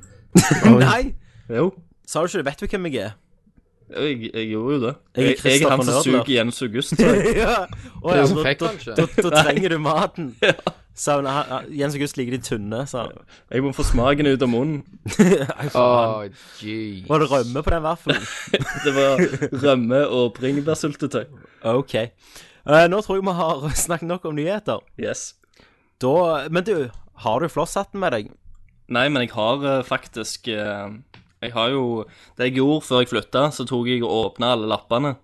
Nei!
Jo.
Sa du ikke det? Vet du hvem jeg er?
Jeg, jeg gjorde jo det.
Jeg er
Jeg, jeg er han
Christopher
som
Nordler.
suger Jens August. tror jeg.
ja. Å,
Det
ja,
er så
da,
fikk
da,
han
da,
ikke.
da trenger du maten. Sa hun. "Ah, ah, Jens August liker de tynne, sa han.
Jeg må få smaken ut av munnen.
Å, jeez.
Var det rømme på den vaffelen?
Det var rømme og bringebærsyltetøy.
OK. Eh, nå tror jeg vi har snakket nok om nyheter.
Yes.
Da, men du, har du flosshatten med deg?
Nei, men jeg har eh, faktisk eh, Jeg har jo Det jeg gjorde før jeg flytta, så tok jeg og åpna alle lappene.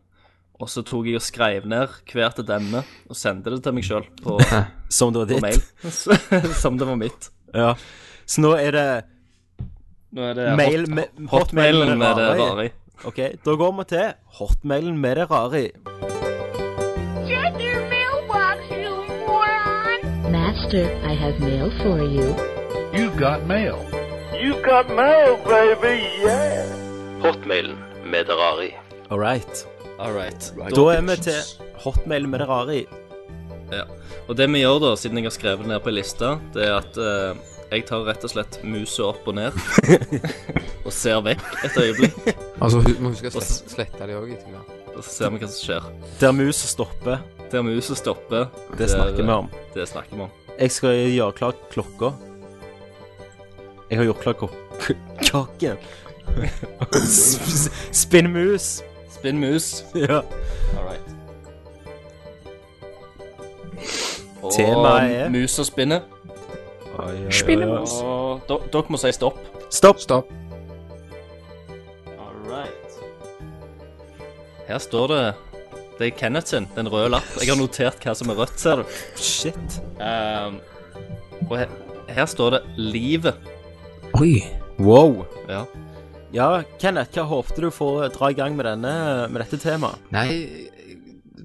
Og så tok jeg og skrev ned hvert et emne og sendte det til meg sjøl på,
Som det var
på
ditt?
mail. Som det var mitt.
Ja. Så nå er det
Nå er det
mail
hot,
med,
hotmailen med det
i.
rare i.
OK, da går vi til hotmailen med det rare i.
Check your mailbox, you moron!
Master, I have mail for you.
Hotmailen med det rare i.
All right.
All right.
Da er vi til hotmailen med det rare i.
Ja. Og det vi gjør da, siden jeg har skrevet ned på ei liste, det er at eh, jeg tar rett og slett musa opp og ned. og ser vekk et øyeblikk,
Altså, hu- må huske å slette, slette de òg etter hvert.
og så ser vi hva som skjer.
Der musa stopper,
Der musa stopper,
det snakker vi om.
Det snakker vi om.
Jeg skal gjøre klar klokka. Jeg har gjort klar kok kaken. S- s- Spinnmus.
Spinn mus.
Ja.
All right. Og
Temaet er-
mus og spinnet.
Spinnemus.
Og do- dere må si stopp.
Stopp. Stopp.
All right. Her står det Det er Kenneth sin, den røde lapp. Jeg har notert hva som er rødt, ser du.
Shit. Um,
Ehm, og her, her står det 'livet'.
Wow.
Ja.
Ja, Kenneth, hva håpte du for å dra i gang med, denne, med dette temaet?
Nei, jeg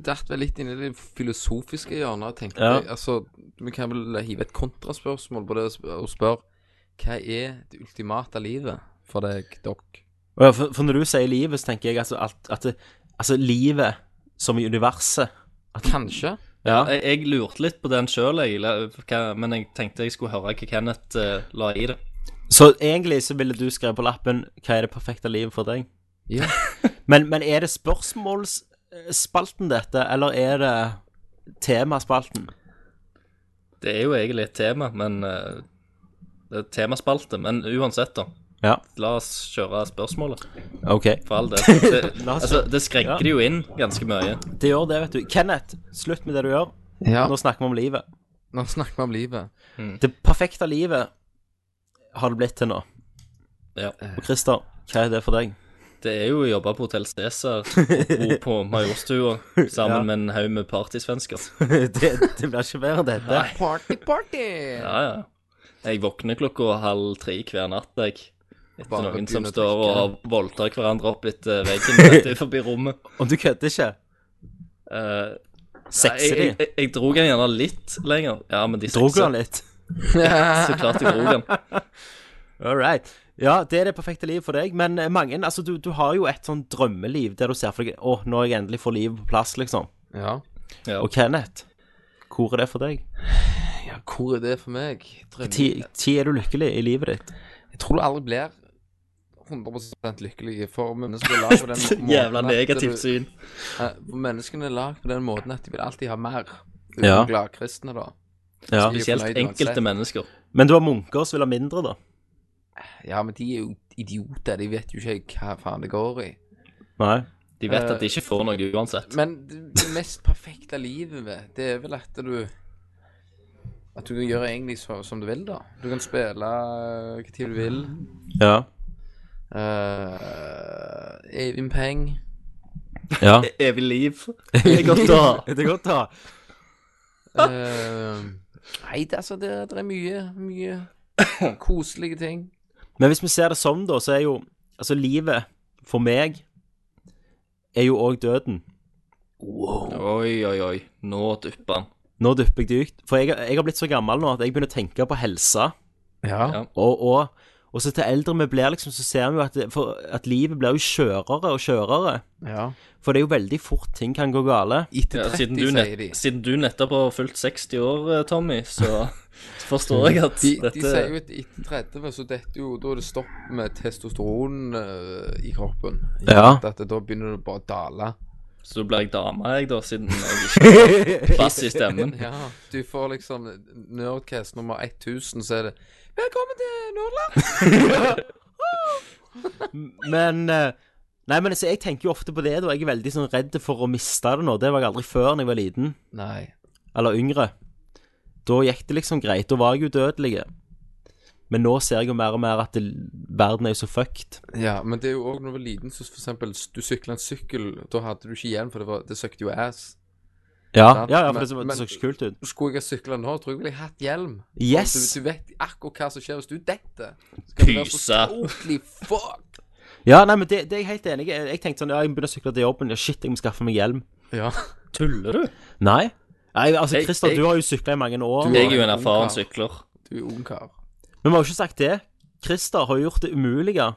datt vel litt inn i det filosofiske hjørnet. Jeg tenkte,
Ja.
altså, Vi kan vel hive et kontraspørsmål på det og sp- og spørre hva er det ultimate livet for deg, dere?
Å ja, For, for når du sier livet, så tenker jeg altså alt, at det, Altså livet som i universet.
Kanskje?
Ja.
Jeg, jeg lurte litt på den sjøl, men jeg tenkte jeg skulle høre hva Kenneth eh, la i det.
Så egentlig så ville du skrevet på lappen 'Hva er det perfekte livet for deg?'
Ja.
Men, men er det spørsmålsspalten dette, eller er det temaspalten?
Det er jo egentlig et tema, men eh, Det er et temaspalte, men uansett, da.
Ja.
La oss kjøre spørsmålet,
OK.
for all del. Det,
La oss-
altså, det skrenker
Ja.
det jo inn ganske mye.
Det gjør det, vet du. Kenneth, slutt med det du gjør.
ja.
Nå snakker vi om livet.
Nå snakker vi om livet.
Det perfekte livet har det blitt til nå.
Ja.
Og Christer, hva er det for deg?
Det er jo å jobbe på Hotell Cæsar og bo på Majorstua sammen
Ja.
med en haug med partysvensker.
det, det blir ikke bedre enn dette.
Party, party!
Ja, ja. Jeg våkner klokka halv tre hver natt, jeg. Etter
Bare
noen som
begynne å
står og
drikke.
voldtar hverandre opp etter veggen rett forbi rommet.
Om du kødder ikke.
Eh,
Sexer
jeg,
de.
jeg, jeg dro den gjerne litt lenger. Ja, men de
Drog du
sexer.
han litt?
Så klart jeg dro den.
All right. Ja, det er det perfekte livet for deg, men mange Altså, du, du har jo et sånn drømmeliv der du ser for deg Å, nå er jeg endelig får livet på plass, liksom.
Ja.
Ja.
Og Kenneth, hvor er det for deg?
ja, hvor er det for meg? Drømmer-
Ti, ti er du lykkelig i livet ditt?
Jeg tror det aldri blir 100 lykkelige, for mennesker er lagd på den måten
Jævla
at
negativt
du-
syn.
Eh, Menneskene er lagd på den måten at de vil alltid ha mer.
Ja.
Ja. Gladkristne, da.
Ja.
Så de er
Spesielt
fornøyd
enkelte
uansett.
mennesker.
Men du har munker som vil ha mindre, da.
Ja, men de er jo idioter. De vet jo ikke hva faen det går i.
Nei.
De vet at de ikke får noe uansett.
Men det det mest perfekte livet, vet, det er vel at du At du kan gjøre egentlig så, som du vil, da. Du kan spille eh, hva tid du vil.
Ja.
Uh, Evin Peng.
ja.
Evig liv. Det er godt å ha.
Det er godt å ha.
Eh, nei, det, altså, det, det er mye, mye koselige ting.
Men hvis vi ser det sånn, da, så er jo Altså, livet for meg er jo òg døden.
Oi, oi, oi. Nå dupper han.
Nå dupper jeg dypt. For jeg, jeg har blitt så gammel nå at jeg begynner å tenke på helse.
Ja.
Og, og, og så til eldre vi blir, liksom, så ser vi jo at, det- for, at livet blir jo skjørere og skjørere.
ja.
For det er jo veldig fort ting kan gå gale.
Etter
Ja,
30,
siden, du
sier
nett,
de.
siden du nettopp har fylt 60 år, eh, Tommy, så, så forstår jeg at
De, de
dette
sier jo at etter 30, så detter jo Da er det stopp med testosteron eh, i kroppen.
Ja.
At Da begynner det bare å dale.
Så blir jeg dame, jeg, da, siden jeg ikke har bass i stemmen.
Ja, du får liksom Nerdcast nummer 1000, så er det Velkommen til Nordland!
Men eh, Nei, men altså, jeg tenker jo ofte på det, da. Jeg er veldig sånn redd for å miste det nå. Det var jeg aldri før da jeg var liten.
Nei.
Eller yngre. Da gikk det liksom greit. Da var jeg udødelig. Men nå ser jeg jo mer og mer at det, verden er jo så fucked.
Ja, men det er jo òg når du var liten, så for eksempel s- du sykla en sykkel, da hadde du ikke igjen, for det, var, det søkte jo ass.
Ja,
Sant,
ja, ja for
men-
det, så, det så
men-
ikke kult ut.
Skulle jeg ha sykla nå, tror jeg jeg ville hatt hjelm.
Yes!
Du, du vet akkurat hva som skjer hvis du detter. Så kan du være så
Pyse.
totally fucked.
Ja, nei, men det, det er jeg helt enig i. Jeg, jeg tenkte sånn, ja, jeg begynner å sykle til jobben. Ja, shit, jeg må skaffe meg hjelm.
Ja.
Tuller du?
Nei. Nei, altså,
Jeg-
Christer,
jeg-
du har jo sykla i mange år.
Du-
Jeg er jo en erfaren
Ungkar.
sykler.
Du er ungkar.
Men vi har jo ikke sagt det. Christer har gjort det umulige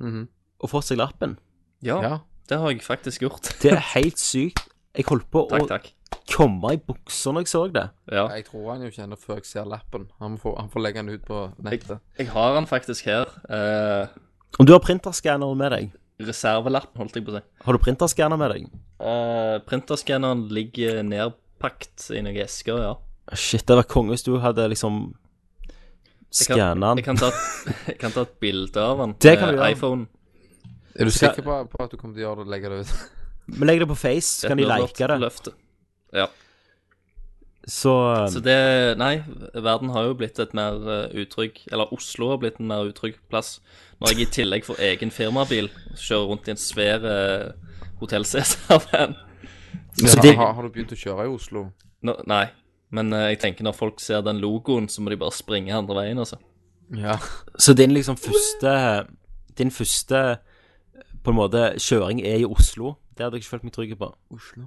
Mhm.
å få seg lappen.
Ja,
Ja.
det har jeg faktisk gjort.
Det er helt sykt. Jeg holdt på
Takk,
å
takk.
komme i buksa når jeg så det.
Ja.
Jeg tror han jo kjenner før jeg ser lappen. Han får, han får legge den ut på nettet.
Jeg har den faktisk her. Eh,
Om du har printerskanner med deg
reservelapp, holdt jeg på å si.
Har du printerskanner med deg?
Eh, printerskanneren ligger nedpakt i noen esker, ja.
Ah, Shit, det var konge hvis du hadde liksom
Jeg kan,
skanna den.
jeg kan ta et, jeg kan ta et bilde av den.
Det kan du
med
gjøre.
iPhone.
Er du
Skal-
sikker på, på at du kommer til å gjøre det og legge det ut?
Men legg det på Face, så kan de
blir
like
vårt
det.
løfte. Ja.
Så um,
Så det Nei, verden har jo blitt et mer eh, utrygg Eller Oslo har blitt en mer utrygg plass. Når jeg i tillegg får egen firmabil, kjører rundt i en svær uh, Hotell Cæsar-van.
Ja,
Altså, det-
har, har du begynt å kjøre i Oslo?
Nå- Nei. Men eh, jeg tenker når folk ser den logoen, så må de bare springe andre veien, altså.
Ja.
Så din liksom første Din første på en måte kjøring er i Oslo. Det hadde jeg ikke følt meg trygg på.
Oslo.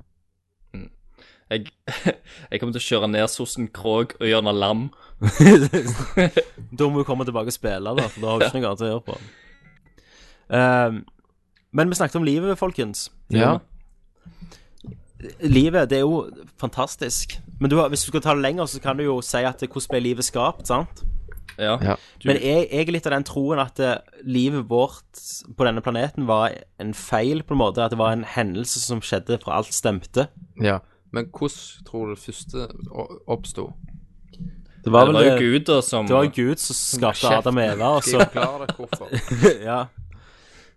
Jeg, jeg kommer til å kjøre ned Sossen Krog og Jørna Lam.
da må vi komme tilbake og spille, da, for da har vi ikke noe annet å gjøre på. Ehm, men vi snakket om livet, folkens.
Ja.
Livet, det er jo fantastisk. Men du, har- hvis du skal ta det lenger, så kan du jo si at hvordan ble livet skapt, sant?
Ja.
Ja.
Men jeg, jeg er litt av den troen at eh, livet vårt på denne planeten var en feil, på en måte. At det var en hendelse som skjedde fra alt stemte.
ja. Men hvordan tror du det første o- oppsto?
Det
Det
var vel
var jo
det,
Gud da som
det var jo Gud som skapte
Kjeft.
Adam og Eva, og
Skal jeg
så
forklare deg hvorfor?
Ja.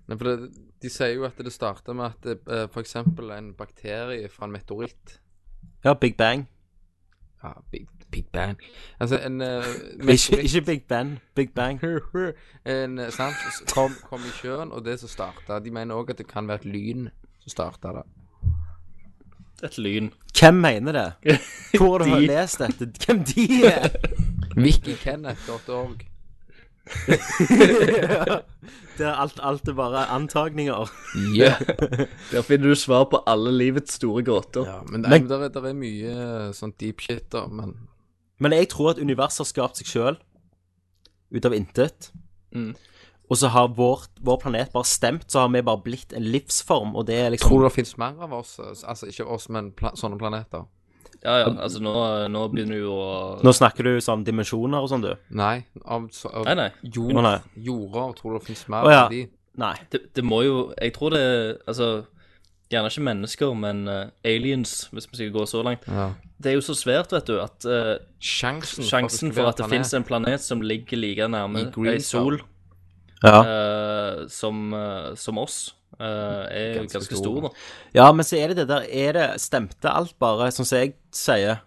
Nei, for det, de sier jo at det starta med at det, eh, for eksempel en bakterie fra en meteoritt
ja, Big Bang.
Ja, Big, big Bang Altså, en eh,
Ikke,
meteoritt
ikke Big Ben, Big Bang.
en, eh, sant? s- Kom, kom i sjøen, og det som starta De mener òg at det kan være et lyn som starta det.
et lyn.
Hvem mener det? Hvor har du
De.
lest dette? Hvem de er?
Wikikenneth.org.
Det er alt, alt er bare antagninger.
Yeah.
Der finner du svar på alle livets store gåter.
Ja, men, nei, men der, er- der er mye eh, sånn deep shit, da. Men
Men jeg tror at universet har skapt seg sjøl ut av intet.
Mm.
Og så har vårt, vår planet bare stemt, så har vi bare blitt en livsform, og det er liksom
Tror du det finnes mer av oss? Altså ikke oss, men pla sånne planeter?
Ja, ja, altså nå, nå begynner du å
Nå snakker du sånn dimensjoner og sånn, du.
Nei. Av, så, av
Nei, nei.
Jord,
Å, nei.
jorder. Tror du det finnes mer
Å, ja.
av de?
Nei.
Det, det må jo Jeg tror det Altså, gjerne ikke mennesker, men eh, aliens, hvis vi skal gå så langt.
Ja.
Det er jo så svært, vet du, at eh,
Sjansen,
sjansen for at det
finnes
finnes en planet som ligger like nærme
I green
ei sol
Ja.
eh, som, eh, som oss, eh, er ganske,
Ganske
ganske
stor.
stor, da.
ja, men så er det det der Er det Stemte alt bare, sånn som jeg sier?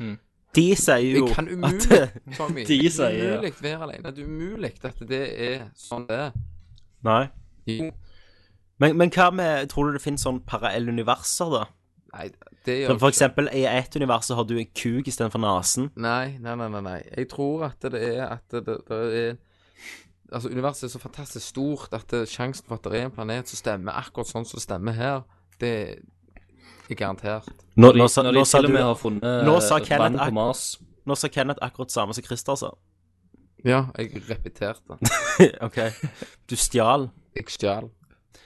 Mm.
De sier jo
Det kan umulig,
at
Tommy.
De
det kan
sier, ja.
umulig være alene. Det er umulig at det er sånn det er.
Nei.
Jo.
Men, men hva med Tror du det finnes sånn parallelle universer, da?
Nei, det gjør
Som for
ikke-
eksempel, i ett univers så har du en kuk istedenfor nesen.
Nei, nei, nei, nei, nei. Jeg tror at det er at det, det, det er Altså, universet er så fantastisk stort at det, sjansen for at det er en planet som stemmer akkurat sånn som det stemmer her, det er garantert.
Nå,
Når de,
nå, sa-
når de
nå, sa
til og
du-
med har funnet
Nå sa
eh,
Kenneth
vann
ak-
på Mars.
nå sa Kenneth akkurat samme som Christer sa.
Ja, jeg repeterte.
OK. Du stjal.
Jeg stjal.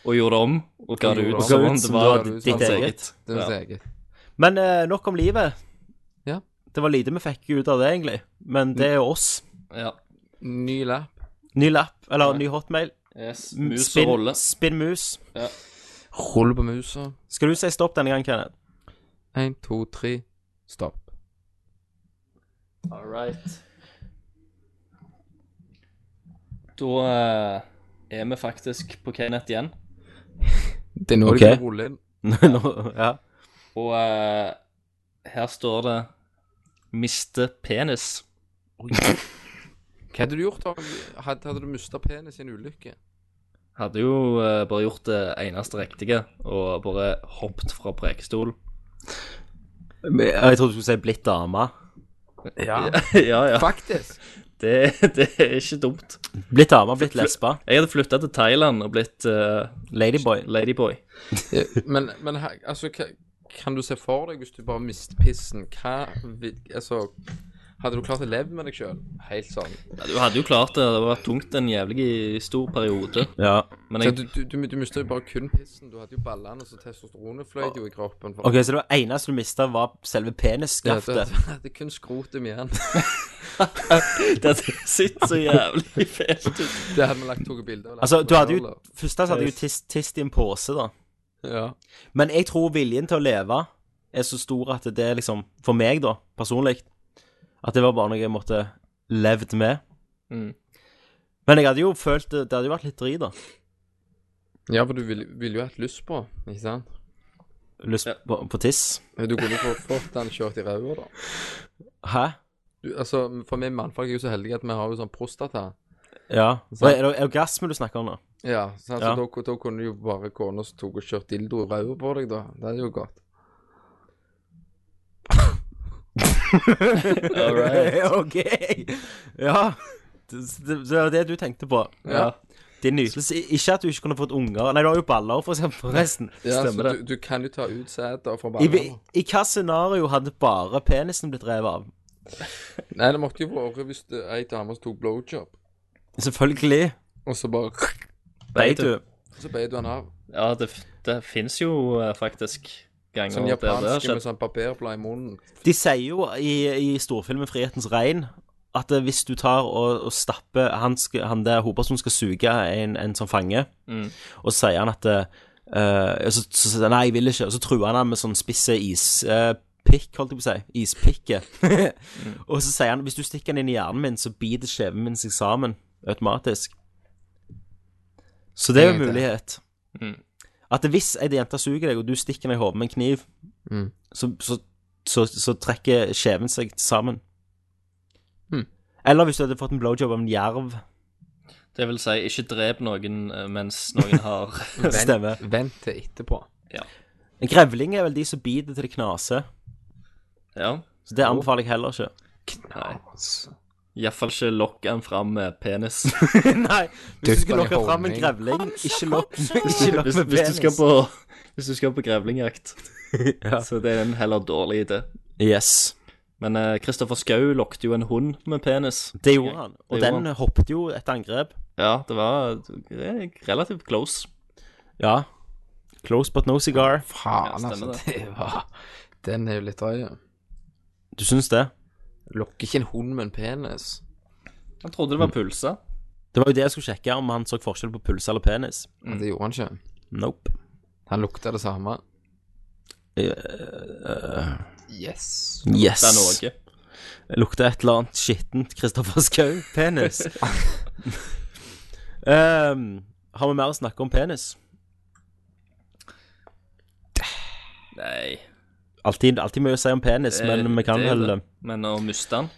Og gjorde det om, og ga det
Og
ut
ga
som
ut
om det
som
var
det var
hans
ditt
eget.
eget.
Det var
Ja.
ja. eget.
Men eh, nok om livet.
Ja.
Det var lite vi fikk ut av det, egentlig. Men
Mm.
det er jo oss.
Ja.
Ny lapp.
Ny lapp, eller ny hotmail.
Yes,
M-
mus
spinn-
og rolle.
Spinn mus.
Rull på musa.
Skal du si stopp denne gangen, Kenneth?
Én, to, tre. Stopp.
All right. Da eh, er vi faktisk på Kenneth igjen.
Det er nå
Ok.
de kan rulle inn.
Nå- ja.
Og eh, her står det 'miste penis'.
Hva hadde du gjort om Hadde, hadde du mista penis i en ulykke?
Hadde jo eh, bare gjort det eneste riktige og bare hoppet fra prekestol.
Men Jeg trodde du skulle si blitt dame.
Ja.
ja, ja.
Faktisk.
Det, det er ikke dumt.
Blitt dame, blitt lesbe.
Jeg hadde flytta til Thailand og blitt eh,
Ladyboy.
ladyboy.
Ja, Men, men he- altså, hva, kan du se for deg hvis du bare mister pissen? Hva vil Altså, hadde du klart å leve med deg sjøl? Helt sånn.
Ja, Du hadde jo klart det. Det var tungt en jævlig stor periode.
Ja.
Men
Så
jeg
du, du, du, du mister jo bare kun pissen. Du hadde jo ballene, så testosteronet fløy jo i kroppen. For
OK, så det var eneste du mista, var selve
Ja, du
penisskaftet.
hadde- hadde kun skrotum igjen.
Dette sitter så jævlig fælt ut.
Det hadde vi lagt to bilder av.
Altså, du hadde jo
Eller-
Først hadde du tist, tist i en pose, da.
Ja.
Men jeg tror viljen til å leve er så stor at det er liksom For meg, da, personlig, at det var bare noe jeg måtte levd med.
Mm.
Men jeg hadde jo følt det Det hadde jo vært litt drit, da.
ja, for du ville ville jo hatt lyst på, ikke sant?
Lyst
Ja.
på, på tiss.
Du kunne jo få- fått den kjørt i ræva, da.
Hæ?
Du, altså, for vi mannfolk er jo så heldige at vi har jo sånn prostata.
Ja.
Så-
Og Er det orgasme du snakker om nå?
Ja, så
Ja.
altså, Da, da kunne jo bare kona som tok og kjørt dildo i ræva på deg, da. Det hadde jo gått.
All right.
OK. Ja. Det det- det var det du tenkte på.
Ja.
Din nytelse. I- Ikke at du ikke kunne fått unger. Nei, du har jo baller, for eksempel. Forresten.
Ja,
Stemmer
så
det.
Du, du kan jo ta ut sæder fra
I,
ballene.
I hva scenario hadde bare penisen blitt revet av?
Nei, det måtte jo være hvis det ei dame som tok blowjob,
Selvfølgelig.
og så bare
Vet du.
Så beit du han av.
Ja, det, det fins jo eh, faktisk ganger
Sånn
der det har
japanske med
skjedd.
sånn barberblad i munnen.
De sier jo i, i storfilmen 'Frihetens regn' at eh, hvis du tar og, og stapper han, skal, han der Hoberson skal suge en, en som fange,
Mm.
og så sier han at eh, eh, så, så, sier han, Nei, jeg vil ikke. Og så truer han han med sånn spisse ispikk, holdt jeg på å si. Ispikke.
Mm.
Og så sier han hvis du stikker den inn i hjernen min, så biter kjeven min seg sammen automatisk. Så det er jo en
Det er det.
mulighet.
Mm.
At hvis ei jente suger deg, og du stikker henne i hodet med en kniv,
Mm.
så, så, så, så trekker kjeven seg sammen.
Mm.
Eller hvis du hadde fått en blowjob av en jerv.
Det vil si, ikke drep noen eh, mens noen har
Stemmer.
Vent til etterpå.
En grevling er vel de som biter til det knaser.
Ja.
Så det anbefaler jeg heller ikke.
Nei. Iallfall ikke lokk den fram med penis.
Nei, hvis du skulle
Dypp den i
lokke fram en
honning.
grevling, ikke lokk ikke lokk
Hvis,
med
hvis, du skal
penis.
på, hvis du skal på grevlingjakt,
Ja.
så det er en heller dårlig idé.
Yes.
Men eh, Kristoffer Schou lokket jo en hund med penis.
Det gjorde han. Og
Det gjorde
den hoppet jo et angrep.
Ja, det var eh, relativt close.
Ja. Close but no cigar.
Faen,
Ja, stemmer
altså. Det var Den er jo litt drøy. ja.
Du syns det?
Lokker ikke en hund med en penis.
Mm.
Han trodde det var pulsa.
Det Det var jo det jeg skulle sjekke, om han så forskjell på pulse eller penis.
Men det gjorde han ikke.
Nope.
Han lukta det samme.
Eh,
Yes.
yes.
Det er noe.
lukter et eller annet skittent Kristoffer Schou-penis. Ehm, har vi mer å snakke om penis?
Nei.
Alltid, alltid mye å si om penis, men
eh,
vi kan
det er
vel
det. Men å miste den,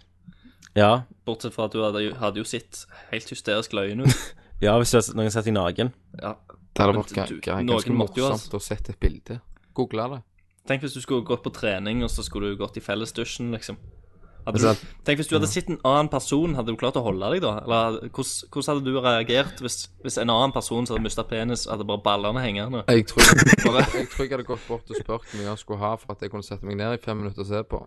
Ja,
bortsett fra at du hadde jo, hadde jo sett helt hysterisk løyen ut.
ja hvis du har- noen setter deg naken.
Ja.
Det hadde
Men
vært
du-
ga- ga-
noen
ganske
måtte jo ha-
morsomt å sette et bilde. Google det.
Tenk hvis du skulle gått på trening, og så skulle du gått i fellesdusjen, liksom. Hadde
Altså,
du, tenk hvis du hadde sett en annen person, hadde du klart å holde deg da? Eller hvordan, hvordan hadde du reagert hvis, hvis en annen person som hadde mista penis, hadde bare ballene hengende?
Jeg tror, bare, jeg tror jeg hadde gått bort og spurt hvor mye han skulle ha for at jeg kunne sette meg ned i fem minutter og se på.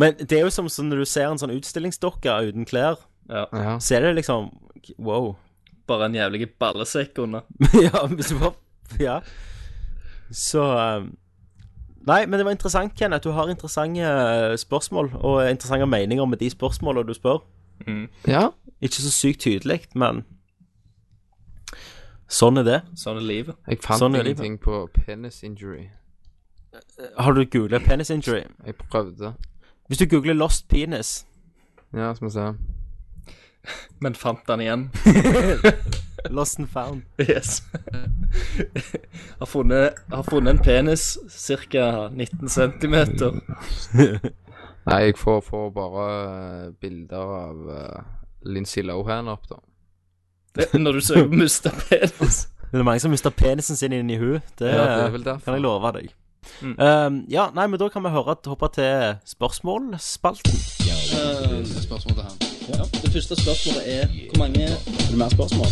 Men det er jo som sånn når du ser en sånn utstillingsdokke uten klær.
Ja.
Ja.
Så er det liksom Wow.
Bare en jævlig ballesekk under.
ja, hvis du bare Ja. Så ehm, Nei, men det var interessant, Kenneth. Du har interessante eh, spørsmål og interessante meninger med de spørsmålene du spør.
ja.
Ikke så sykt tydelig, men Sånn er det.
Sånn er livet.
Jeg fant
Sånn er livet.
ingenting på penis injury.
Har du googla penis injury?
Jeg prøvde.
Hvis du googler lost penis
Ja, skal vi se.
Men fant den igjen.
Lost and found.
Yes. har, funnet, har funnet en penis ca. 19 cm.
Nei, jeg får, får bare eh, bilder av uh, Lincy Lohan opp, da.
Når du søker på mista penis.
Det er mange som mister penisen sin inni huet. Det,
Ja, det er vel derfor. Mm.
kan jeg love deg. Um, ja, nei, men da kan vi høre at hoppe til spørsmålspalten.
Det første spørsmålet er hvor mange Er det mer spørsmål?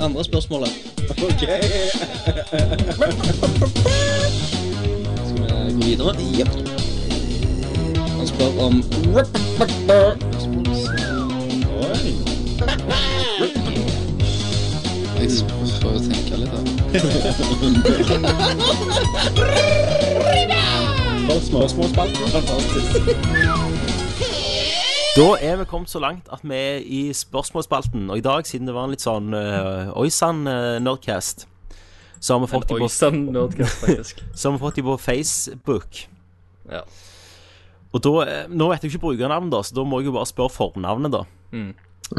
Andre spørsmålet. OK. Skal vi gå videre? Jepp. Han spør om Oi. Jeg prøver å tenke litt, da. Spørsmålsspalten. Fantastisk.
Da er vi kommet så langt at vi er i spørsmålspalten. Og i dag, siden det var en litt sånn uh, oi sann eh, nerdcast, så har vi fått de
Oi
på,
sann, nerdcast, faktisk.
så har vi fått de på Facebook.
Ja.
Og da, eh, Nå vet jeg jo ikke brukernavn, da, så da må jeg jo bare spørre fornavnet, da.
Mm.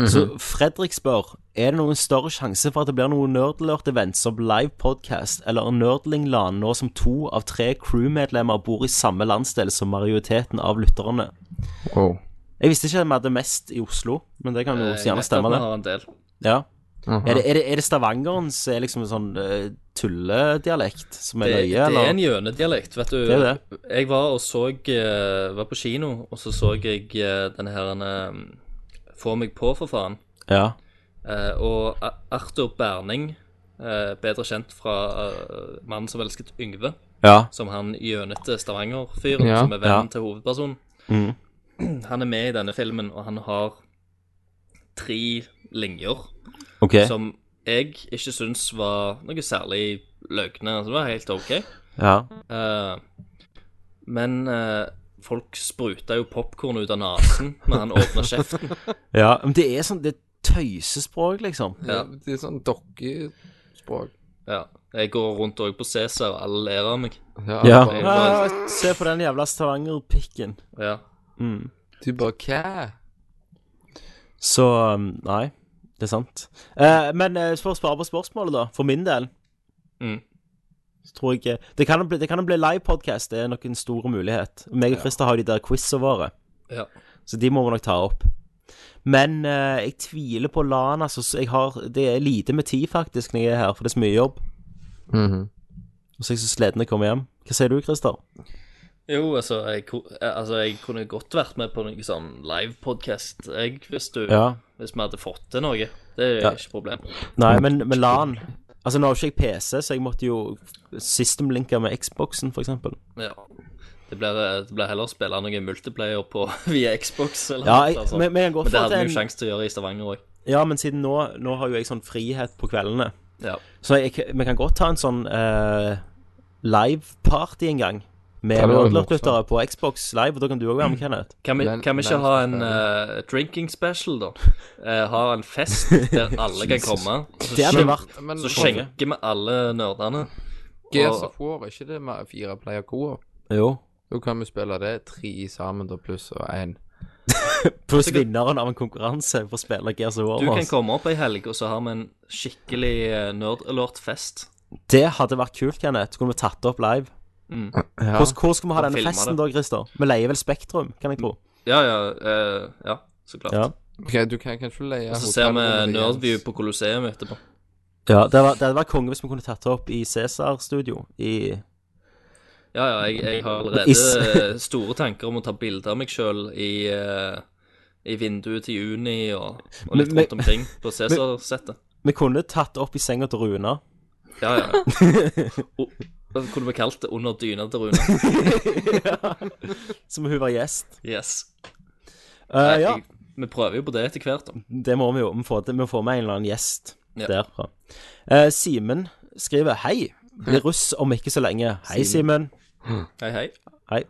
Så Fredrik spør Er det noen større sjanse for at det blir noen nerdlert events som live podcast eller en nerdlingland nå som to av tre crewmedlemmer bor i samme landsdel som majoriteten av lytterne?
Oh.
Jeg visste ikke at vi hadde mest i Oslo, men det kan jo
Eh, Jeg
gjerne
vet
stemme,
at vi
det.
Har en del.
Ja.
Aha.
Er, det, er, det, er det Stavangeren som er liksom en sånn eh, tulledialekt som er
Det,
løye,
det er en
eller?
gjønedialekt, vet du.
Det er det.
Jeg var og så eh, Var på kino, og så så jeg eh, denne her eh, Få meg på, for faen.
Ja.
Eh, og A- Arthur Berning, eh, bedre kjent fra eh, Mannen som elsket Yngve,
Ja.
som han gjønete Stavanger-fyren
Ja.
som er vennen
Ja.
til hovedpersonen.
Mhm.
Han er med i denne filmen, og han har tre linjer
OK.
som jeg ikke syns var noe særlig løgne. Altså, det var helt OK.
Ja.
Eh, men eh, folk spruta jo popkorn ut av nesen når han åpna kjeften.
ja. Men det er sånn Det er tøysespråk, liksom.
Ja, det er sånn dokkespråk.
Ja. Jeg går rundt òg på Cæsar, og alle ler av meg.
Ja,
Ja.
Bare,
Ah, Se på den jævla Stavanger-pikken.
Ja.
Mm.
du bare Hva?
Så um, nei, det er sant. Eh, men eh, for å svare på spørsmålet, da, for min del
Mm.
Så tror jeg eh, Det kan jo bli, det kan jo bli live podcast, det er nok en stor mulighet. Meg og Christer har jo de der quizene våre,
Ja.
så de må vi nok ta opp. Men eh, jeg tviler på LAN, altså. Så jeg har, det er lite med tid, faktisk, når jeg er her, for det er så mye jobb. Og så er jeg så sliten når jeg kommer hjem. Hva sier du, Christer?
Jo, altså jeg, ko- eh, altså, jeg kunne godt vært med på noe sånn livepodkast, jeg, hvis du
Ja.
Hvis vi hadde fått til noe. Det er
Ja.
ikke problem.
Nei, men, men LAN Altså, nå har jo ikke jeg PC, så jeg måtte jo systemlinke med Xboxen, for eksempel.
Ja. Det blir, eh, det blir heller å spille noe multiplayer på via Xbox eller
Ja,
noe,
jeg, men, men jeg kan godt
Men det
få
hadde vi jo
til en
sjanse til å gjøre i Stavanger òg.
Ja, men siden nå, nå har jo jeg sånn frihet på kveldene.
Ja.
Så jeg, vi kan godt ta en sånn eh, live-party en gang med
Ja, det var jo
Nerdlurt-lyttere på Xbox Live, og da kan du òg være med, Kenneth.
Kan vi, kan vi ikke ha en eh, drinking special, da? Eh, ha en fest der alle kan
Jesus.
komme. og så
Det hadde
skjen-
vært-
Men- altså.
Så skjenker vi alle nerdene.
Gears
Og-
of War, er ikke det med fire player co-op?
Jo.
Da kan vi spille det tre sammen, da, pluss og én.
Pluss vinneren av en konkurranse for å spille Gears of War.
Du
med
kan
oss.
komme opp ei helg, og så har vi en skikkelig eh, nerd-alert-fest.
Det hadde vært kult, Kenneth. Så kunne vi tatt det opp live.
Mm.
Hvordan, hvor skal vi ha
Og
denne
filme
festen
det.
da, Christer? Vi leier vel Spektrum, kan jeg tro.
Ja, ja, eh, ja, så klart.
Ja.
Ok, du kan kanskje leie
Og så ser vi
hotellrommet til Jens.
Nerdview på Colosseum etterpå.
Ja, det hadde vært- det hadde vært konge hvis vi kunne tatt det opp i Cæsar-studio i
Ja, ja, jeg, jeg har allerede
Is.
eh, store tanker om å ta bilder av meg sjøl i, eh, i vinduet til juni og, og litt
Men- men-
rundt omkring på Cæsar-settet.
Vi kunne tatt det opp i senga til Runa.
Ja, ja. Og- Hva kunne vi kalt det? Under dyna til Rune.
Som hun var gjest.
Yes.
Eh,
Nei,
ja.
jeg- Vi prøver jo på det etter hvert, da.
Det må vi jo. Vi får, vi får med en eller annen gjest
Ja.
derfra. Eh, Simen skriver Hei. Blir russ om ikke så lenge. Hei, Simen.
Simen. Hei, hei.
Hei.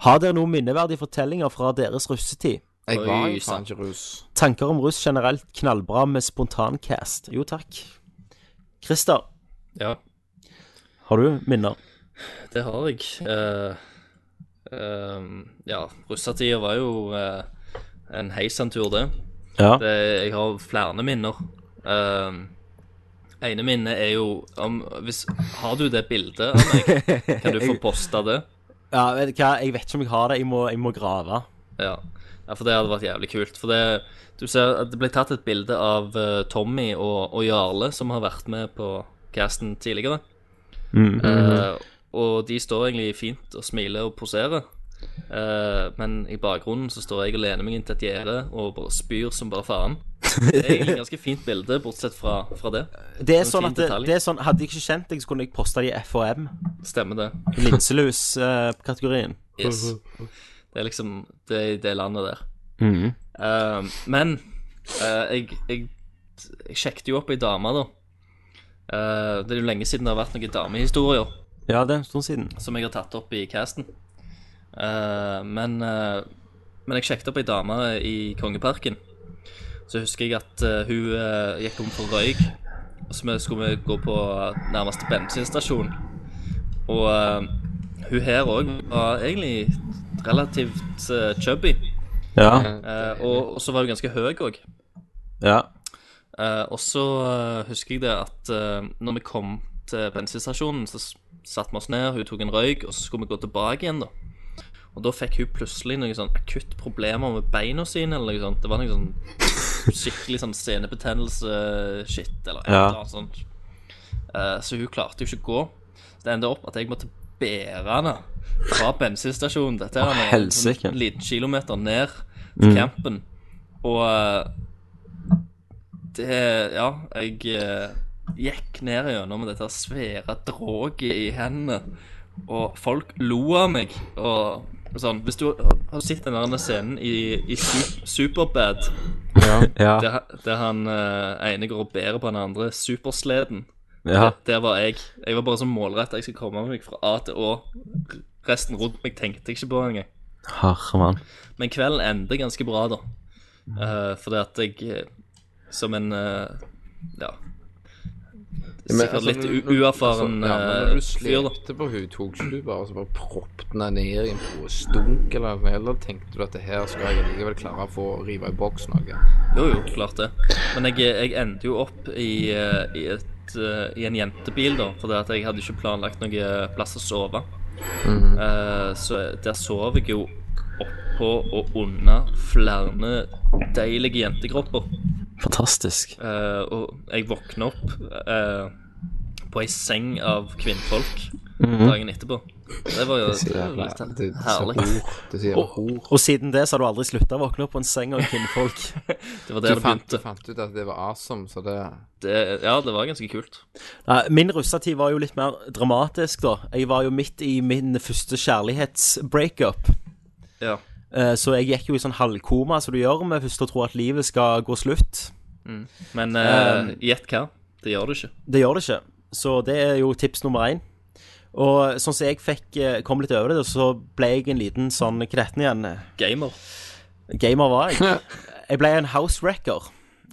Har dere noen minneverdige fortellinger fra deres russetid?
Jeg var jo
Oi,
faen
sant.
ikke russ.
Tanker om russ generelt knallbra med spontancast. Jo, takk. Christer,
Ja,
har du minner?
det har jeg. Eh, eh, ja, russetida var jo eh, en heisantur, det.
Ja.
det. Jeg har flere minner. Eh, ene minnet er jo om hvis, Har du det bildet av meg? Kan du få posta det?
Ja, vet du hva, jeg vet ikke om jeg har det. Jeg må, jeg må grave.
Ja. ja, for det hadde vært jævlig kult. For det, du ser, at det ble tatt et bilde av eh, Tommy og, og Jarle, som har vært med på casten tidligere.
Mm.
Eh, og de står egentlig fint og smiler og poserer. Eh, men i bakgrunnen så står jeg og lener meg inn til et gjerde og bare spyr som bare faen. Det er egentlig et ganske fint bilde, bortsett fra, fra det.
Det er
En
sånn
fin
at det,
detalj.
det er sånn, Hadde jeg ikke kjent deg, så kunne jeg posta det i FHM.
Stemmer det.
Linselus-kategorien.
Yes. Det er liksom det, er i det landet der.
Mhm.
Eh, men eh, jeg, jeg, jeg sjekket jo opp ei dame, da. Eh, det er jo lenge siden det har vært noen damehistorier.
Ja, det er en stund siden.
som jeg har tatt opp i casten. Eh, men, eh, men jeg sjekket opp ei dame i Kongeparken. Så husker jeg at eh, hun eh, gikk om for røyk. Og så vi- skulle vi gå på nærmeste bensinstasjon. Og eh, hun her òg var egentlig relativt eh, chubby.
Ja.
Eh, og, og så var hun ganske høy òg.
Ja.
Eh, og så eh, husker jeg det at eh, når vi kom til bensinstasjonen, så s- satte vi oss ned, hun tok en røyk, og så skulle vi gå tilbake igjen, da. Og da fikk hun plutselig noen sånn akutt problemer med beina sine, eller noe sånt. Det var noe sånn skikkelig sånn senebetennelse-shit, eller et
Ja.
eller annet sånt. Eh, så hun klarte jo ikke å gå. Så det endte opp at jeg måtte bære henne fra bensinstasjonen. Dette
Å,
er en
helsike.
sånn liten kilometer ned til
Mm.
campen. Og eh, det Ja, jeg eh, gikk ned gjennom dette svære dråget i hendene, og folk lo av meg. Og sånn Hvis du har sett den der scenen i, i Su- Superbad
Ja.
der, der han eh, ene går og bærer på den andre supersleden.
Ja.
Der, der var jeg. Jeg var bare så målretta. Jeg skal komme meg fra A til Å. Resten rundt meg tenkte jeg ikke på engang.
Herre mann.
Men kvelden endte ganske bra, da. Eh, fordi at jeg eh, som en eh, ja
Ja, men,
Sikkert
altså,
litt
når-
u-
når-
uerfaren
altså, ja, men når
eh,
du
fyr, da.
slepte på henne, tok ikke du bare så bare proppet henne ned i en stunk eller noe, eller tenkte du at det her skal jeg likevel klare å få rive i boks noe?
Jo, jo, klart det. Men jeg, jeg endte jo opp i, eh, i, et, eh, i en jentebil, da. Fordi at jeg hadde ikke planlagt noe plass å sove.
Mhm.
Eh, så der sov jeg jo oppå og under flere deilige jentekropper.
Fantastisk.
Eh, og jeg våkna opp eh, på ei seng av kvinnfolk
Mhm.
dagen etterpå. Det var jo
Det sier
det var jo
jeg-
litt
det- det sier
herlig.
ord. Det sier
Og-
ord.
Og siden det så har du aldri slutta å våkne opp på en seng av kvinnfolk.
Det var der
du
det
fant,
begynte.
du fant ut at det var awesome, så det
Det, ja, det var ganske kult.
Nei, Min russetid var jo litt mer dramatisk, da. Jeg var jo midt i min første kjærlighetsbreakup.
Ja.
Eh, Så jeg gikk jo i sånn halvkoma, som du gjør med først å tro at livet skal gå slutt.
Mm. Men eh,
Um,
gjett hva? Det gjør du ikke.
Det gjør det ikke. Så det er jo tips nummer én. Og sånn som jeg fikk, eh, kom litt over det, så ble jeg en liten sånn kretten igjen.
Gamer.
Gamer var jeg. Jeg ble en housewrecker.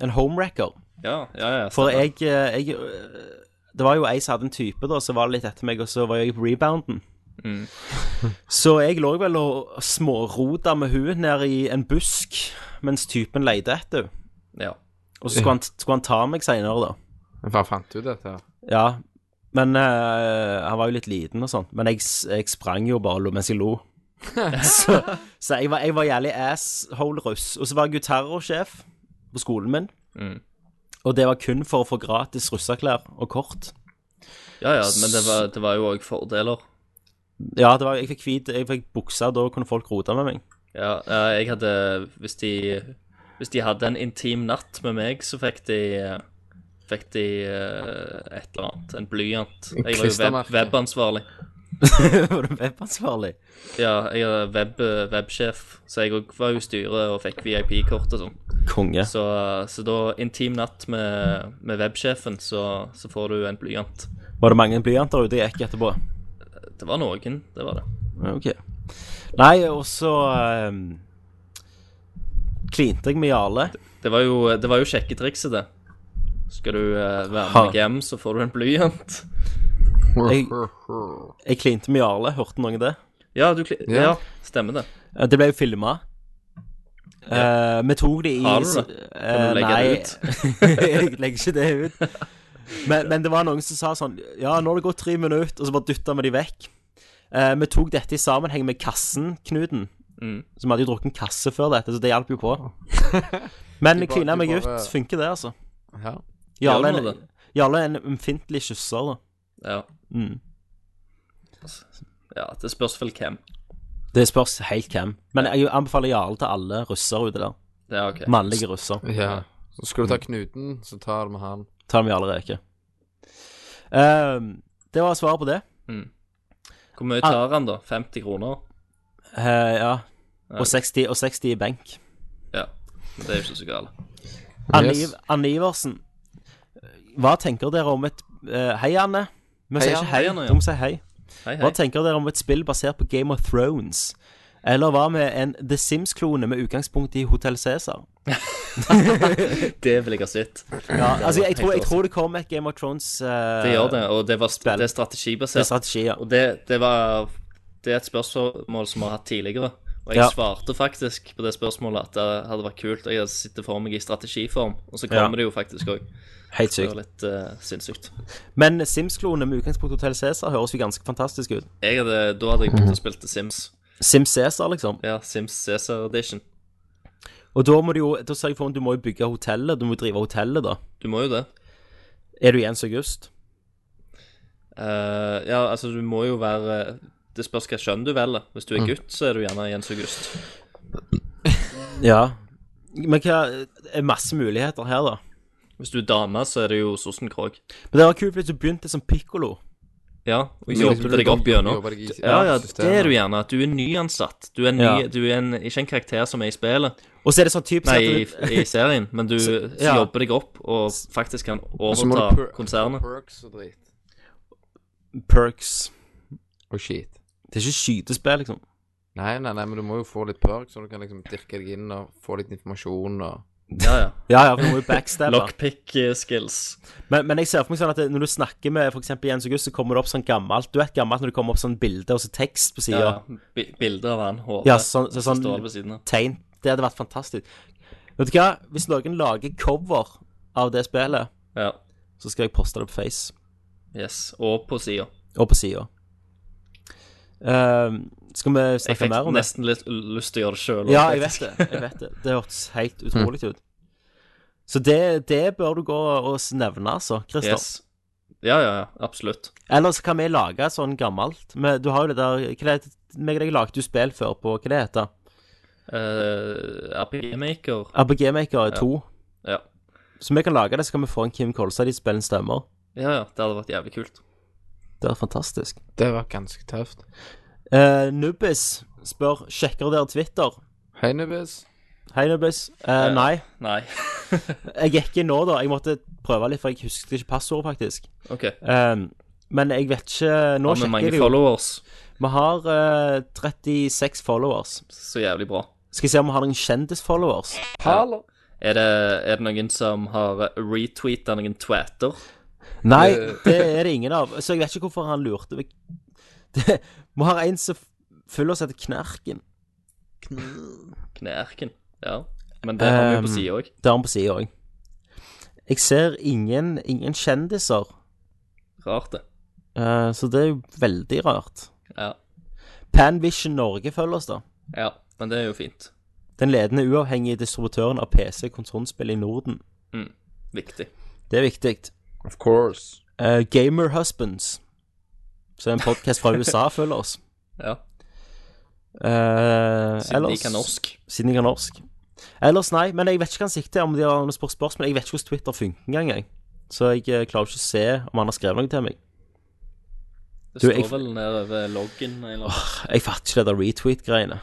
En homewrecker.
Ja, ja, ja.
For
stemmer.
jeg, eh, jeg eh, Det var jo ei som hadde en type, da, så var det litt etter meg, og så var jeg på rebounden.
Mm.
Så jeg lå vel og smårota med huet ned i en busk mens typen leide etter henne.
Ja.
Og så skulle han, skulle han ta meg seinere, da.
Men faen, fant du dette her?
Ja. Men eh, han var jo litt liten og sånn. Men jeg, s- jeg sprang jo bare lo- mens jeg lo. så så jeg, var, jeg var jævlig asshole-russ. Og så var jeg jo terrorsjef på skolen min.
Mm.
Og det var kun for å få gratis russeklær og kort.
Ja, ja, men det var, det var jo òg fordeler.
Ja, det var, jeg fikk hvit, jeg fikk bukser, da kunne folk rote med meg.
Ja, eh, jeg hadde Hvis de, hvis de hadde en intim natt med meg, så fikk de eh, Fikk de eh, et eller annet. En blyant. Jeg var jo web,
Klistremerke.
webansvarlig.
var du webansvarlig?
Ja, jeg er web, websjef, så jeg òg var jo i styret og fikk VIP-kort og sånn.
Konge.
Så, så da, intim natt med, med websjefen, så, så får du en blyant.
Var det mange blyanter ute jeg gikk etterpå?
Det var noen, det var det.
Ja, Ok. Nei, og så ehm, klinte jeg med Jarle.
Det var jo, det var jo sjekketrikset, det. Skal du eh, være
Ha.
med meg hjem, så får du en blyant.
Jeg, jeg klinte med Jarle, hørte noen det?
Ja, du, kli-
Ja.
ja, stemmer det.
Eh, Det ble jo filma. vi tok det i
Har du det?
Eh,
Kan du legge
det ut? jeg legger ikke det ut. Men, men det var noen som sa sånn Ja, nå har det gått tre minutter, og så bare dytta vi de vekk. Eh, vi tok dette i sammenheng med kassen, Knuten.
Mm.
Så vi hadde jo drukket en kasse før dette, så det hjalp jo på. Men
Du bare-
klina
du
meg
bare-
ut funker det, altså.
Ja.
Jarle
Gjør
er
man
en- Jarle er en ømfintlig kysser, da.
Ja.
Mm.
ja, det spørs vel hvem.
Det spørs helt hvem. Men jeg anbefaler Jarle til alle russere ute der.
Ja, ok.
Mannlige russer.
Ja. Så skulle du ta Knuten, så tar du med han.
Ta dem i alle reker. Ehm, det var svaret på det.
Mm. Hvor mye tar han, da? 50 kroner?
Eh, ja. Og 60, og 60 i benk.
Ja. Det er jo ikke så galt.
Anne,
Yes.
Iv- Anne Iversen, hva tenker dere om et eh, Hei, Anne. Vi
Hei,
sier
Anne.
ikke hei,
Hei, Anne, ja.
du må si hei.
Hei, hei.
Hva tenker dere om et spill basert på Game of Thrones? Eller hva med en The Sims-klone med utgangspunkt i Hotell Cæsar?
Det vil jeg ha sett.
Ja, altså, jeg
Helt
tror, jeg
awesome.
tror det kommer et Game of Thrones eh,
Det gjør det, og det, var, sp- det er
Det
strategibasert.
er strategi, ja.
Og det, det var Det er et spørsmål som vi har hatt tidligere. Og jeg
Ja.
svarte faktisk på det spørsmålet at det hadde vært kult. og Jeg hadde sittet for meg i strategiform, og så
Ja.
kommer det jo faktisk òg.
Helt
Det
sykt.
var litt eh, sinnssykt.
Men Sims-klone med utgangspunkt i Hotell Cæsar høres jo ganske fantastisk ut.
Jeg hadde, da hadde jeg begynt å spille til Sims.
Sims Cæsar, liksom.
Ja, Sims Cæsar Edition.
Og da må du jo Da ser jeg for meg at du må jo bygge hotellet. Du må jo drive hotellet, da.
Du må jo det.
Er du i 1. august?
Eh, ja, altså, du må jo være Det spørs hva kjønn du velger. Hvis du er
Mm.
gutt, så er du gjerne Jens August.
Ja. Men hva er masse muligheter her, da?
Hvis du er dame, så er det jo Sossen Krog.
Men det var kult hvis du begynte som pikkolo.
Ja, og
Men
jobber
liksom,
deg opp gjennom.
jobber deg i-
Ja, ja,
ja,
det er du gjerne. At du er nyansatt. Du er, ny,
Ja.
du er en, ikke en karakter som er i spillet.
Og så er det sånn typisk
Nei, i,
at du-
i serien, men du
Så-
så
ja.
jobber deg opp og faktisk kan
Så må du
overta
per-
konsernet.
Perks og drit.
Perks.
Og shit.
Det er ikke skytespill, liksom.
Nei, nei, nei, men du må jo få litt perks, så du kan liksom dirke deg inn og få litt informasjon og
Ja, ja.
Ja, ja, for du må jo backstabbe.
Lockpick eh, skills.
Men, men jeg ser for meg sånn at det- når du snakker med f.eks. Jens August, så kommer det opp sånn gammelt Du vet gammelt når det kommer opp sånn bilde og så tekst på sida.
Ja, ja. Bi- Bilder av han, hodet,
Ja, sånn, så, sånn
som står ved siden av.
tegn. Det hadde vært fantastisk. Vet du hva? Hvis noen lager cover av det spillet,
Ja.
så skal jeg poste det på Face
Yes. Og på sida.
og på sida. Ehm, skal vi
Jeg
snakke
fikk
mer om det?
nesten litt lyst til å Mm. gjøre det sjøl.
Ja, jeg vet det. jeg vet Det Det hørtes helt utrolig ut. Så det, det bør du gå og s- nevne, altså, Christer.
Yes. Ja, ja, ja. Absolutt.
Eller så kan vi lage sånn gammelt. Men du har jo det der Hva er det meg og deg lagde jo spill før på Hva det heter
Eh, RPG Maker.
RPG Maker
Ja.
2.
Ja.
Så vi kan lage det, så kan vi få en Kim Kolstad i spillens stemmer.
ja, ja. Det hadde vært jævlig kult.
Det er fantastisk.
Det var ganske tøft.
Eh, Nubbis spør Sjekker dere Twitter?
Hei, Nubis.
Hei, Nubbis. Eh,
Eh,
nei.
Nei.
Jeg gikk inn nå, da. Jeg måtte prøve litt, for jeg husket ikke passordet, faktisk.
OK.
Eh, Men jeg vet ikke Nå
Har vi
sjekker
mange
jeg det jo.
followers?
Vi har eh, 36 followers.
Så jævlig bra.
Skal jeg se om vi har noen kjendisfollowers?
Hallo. Er det, er det noen som har retweeta noen twatter?
Nei, Eh, det er det ingen av. Så jeg vet ikke hvorfor han lurte meg. Det- Vi har en som følger oss etter Knerken.
Knerken. Ja. Men det har vi jo
Um,
på sida òg.
Det har han på sida òg. Jeg ser ingen, ingen kjendiser,
Rart, det.
eh, så det er jo veldig rart.
Ja.
Panvision Norge følger oss, da.
ja. Men det er jo fint.
Den ledende uavhengige distributøren av PC-konsollspill i Norden.
Mm. Viktig.
Det er viktig.
Of course.
Eh, Gamer Husbands, som er en podkast fra USA, følger oss.
Ja.
Eh,
Siden de kan norsk.
Siden de kan norsk. Ellers nei, men jeg vet ikke hva han sikter om de har noen spurt spørsmål. Jeg vet ikke hvordan Twitter funker engang, jeg. Så jeg eh, klarer ikke å se om han har skrevet noe til meg.
Det
Du,
står
jeg-
vel nede ved loggen eller noe.
Jeg fatter ikke det der retweet-greiene.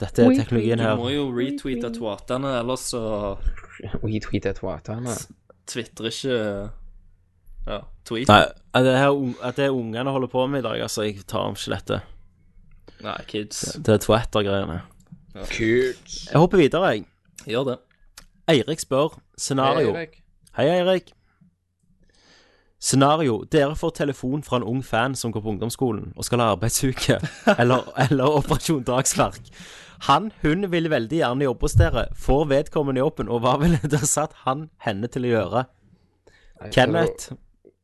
Dette er teknologien
Du
her.
må jo retweete twatene, ellers så
Retweetet twaterne.
twitrer ikke Ja, tweet.
Nei, at det, her, un- at det er ungene holder på med i dag, altså. Jeg tar om ikke dette.
Nei, kids.
Det er Twitter-greiene.
Ja.
Jeg hopper videre, jeg.
Gjør det.
Eirik spør scenario.
Hei, Eirik.
Hei, Eirik. Scenario. Dere får telefon fra en ung fan som går på ungdomsskolen og skal ha arbeidsuke eller, eller operasjon dagsverk. Han, hun, vil veldig gjerne jobbe hos dere. Får vedkommende jobben, og hva ville dere satt han, henne til å gjøre?
Nei,
Kenneth.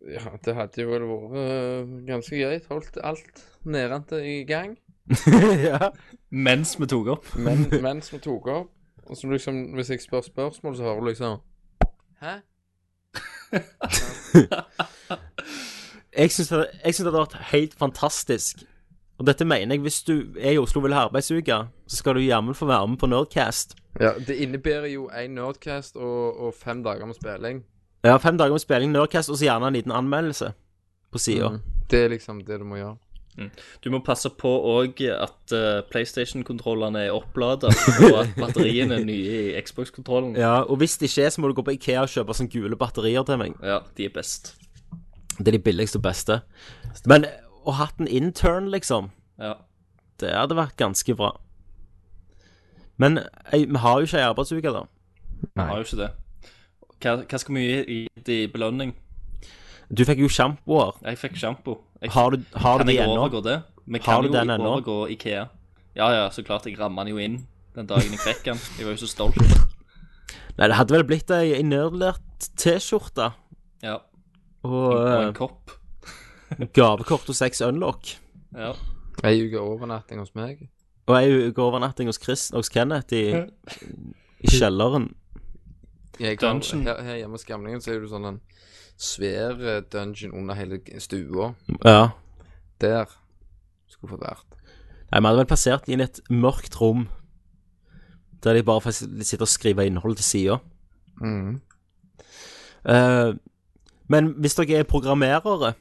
Ja, det hadde jo vel vært øh, ganske greit. Holdt alt nedrente i gang.
ja.
Mens vi tok opp.
Men, mens vi tok opp. Og så liksom, hvis jeg spør spørsmål, så hører du liksom Hæ?
Jeg syns det, jeg synes det hadde vært helt fantastisk. Og dette mener jeg, hvis du er i Oslo og vil ha arbeidsuke, så skal du jammen få være med på Nerdcast.
Ja, det innebærer jo én Nerdcast og, og fem dager med spilling.
Ja, fem dager med spilling Nerdcast, og så gjerne en liten anmeldelse på sida.
Mhm. Det er liksom det du må gjøre.
Du må passe på òg at eh, PlayStation-kontrollene er opplada, og at batteriene er nye i Xbox-kontrollen.
Ja, og hvis det ikke er, så må du gå på Ikea og kjøpe sånne gule batterier til meg.
Ja, de er best.
Det er de billigste og beste. Men å ha hatt en intern, liksom,
Ja.
det hadde vært ganske bra. Men ei, vi har jo ikke ei arbeidsuke, da.
Vi har jo ikke det. Hva, hva skal vi gi i i belønning?
Du fikk jo sjampoer.
Jeg fikk sjampo. Jeg-
Har du- har du
kan jeg
de ennå?
overgå det? Vi
Har
kan
du
jo
den ennå?
overgå Ikea. Ja, ja, så klart. Jeg ramma den jo inn den dagen jeg fikk den. Jeg var jo så stolt.
Nei, det hadde vel blitt ei ei nerdlært T-skjorte
Ja.
og
Og en
eh,
kopp.
gavekort og seks unlock.
Ja.
Ei uke overnatting hos meg.
Og ei uke overnatting hos Chris hos Kenneth i, i kjelleren.
Jeg kan,
Dungeon.
her, her hjemme hos gamlingen så er det jo sånn en svær eh, dungeon under hele g- stua.
Ja.
Der skulle fått vært.
Nei, vi hadde vel plassert inn i et mørkt rom Der de bare faktisk sitter og skriver innhold til sida Eh, Men hvis dere er programmerere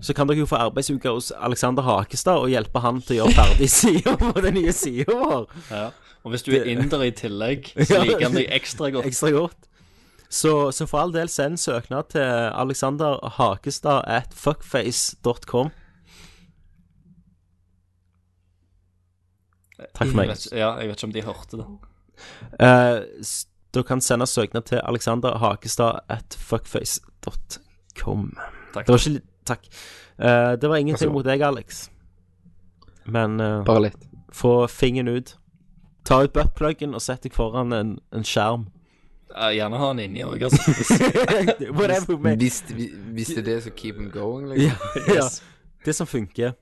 Så kan dere jo få arbeidsuke hos Alexander Hakestad Og hjelpe han til å gjøre ferdig sida på den nye sida vår
ja. Og hvis du er inder i tillegg, så
Ja.
liker han deg ekstra godt.
Ekstra godt så, så for all del send søknad til Alexander Hakestad at fuckface.com Takk for meg.
Jeg vet, ikke- ja, jeg vet ikke om de hørte det.
Eh, s- Da kan sende søknad til Alexander Hakestad at fuckface.com.
Takk.
Det var ikke litt Takk. Eh, det var ingenting
Vær så god.
mot deg, Alex. Men eh,
Bare litt.
få fingeren ut. Ta ut buttpluggen og sett deg foran en, en skjerm.
Ja, gjerne ha han inni òg, altså.
Whatever, man.
Hvis, vi- hvis det er det, så keep them going,
Ja,
liksom.
ja. Det som funker.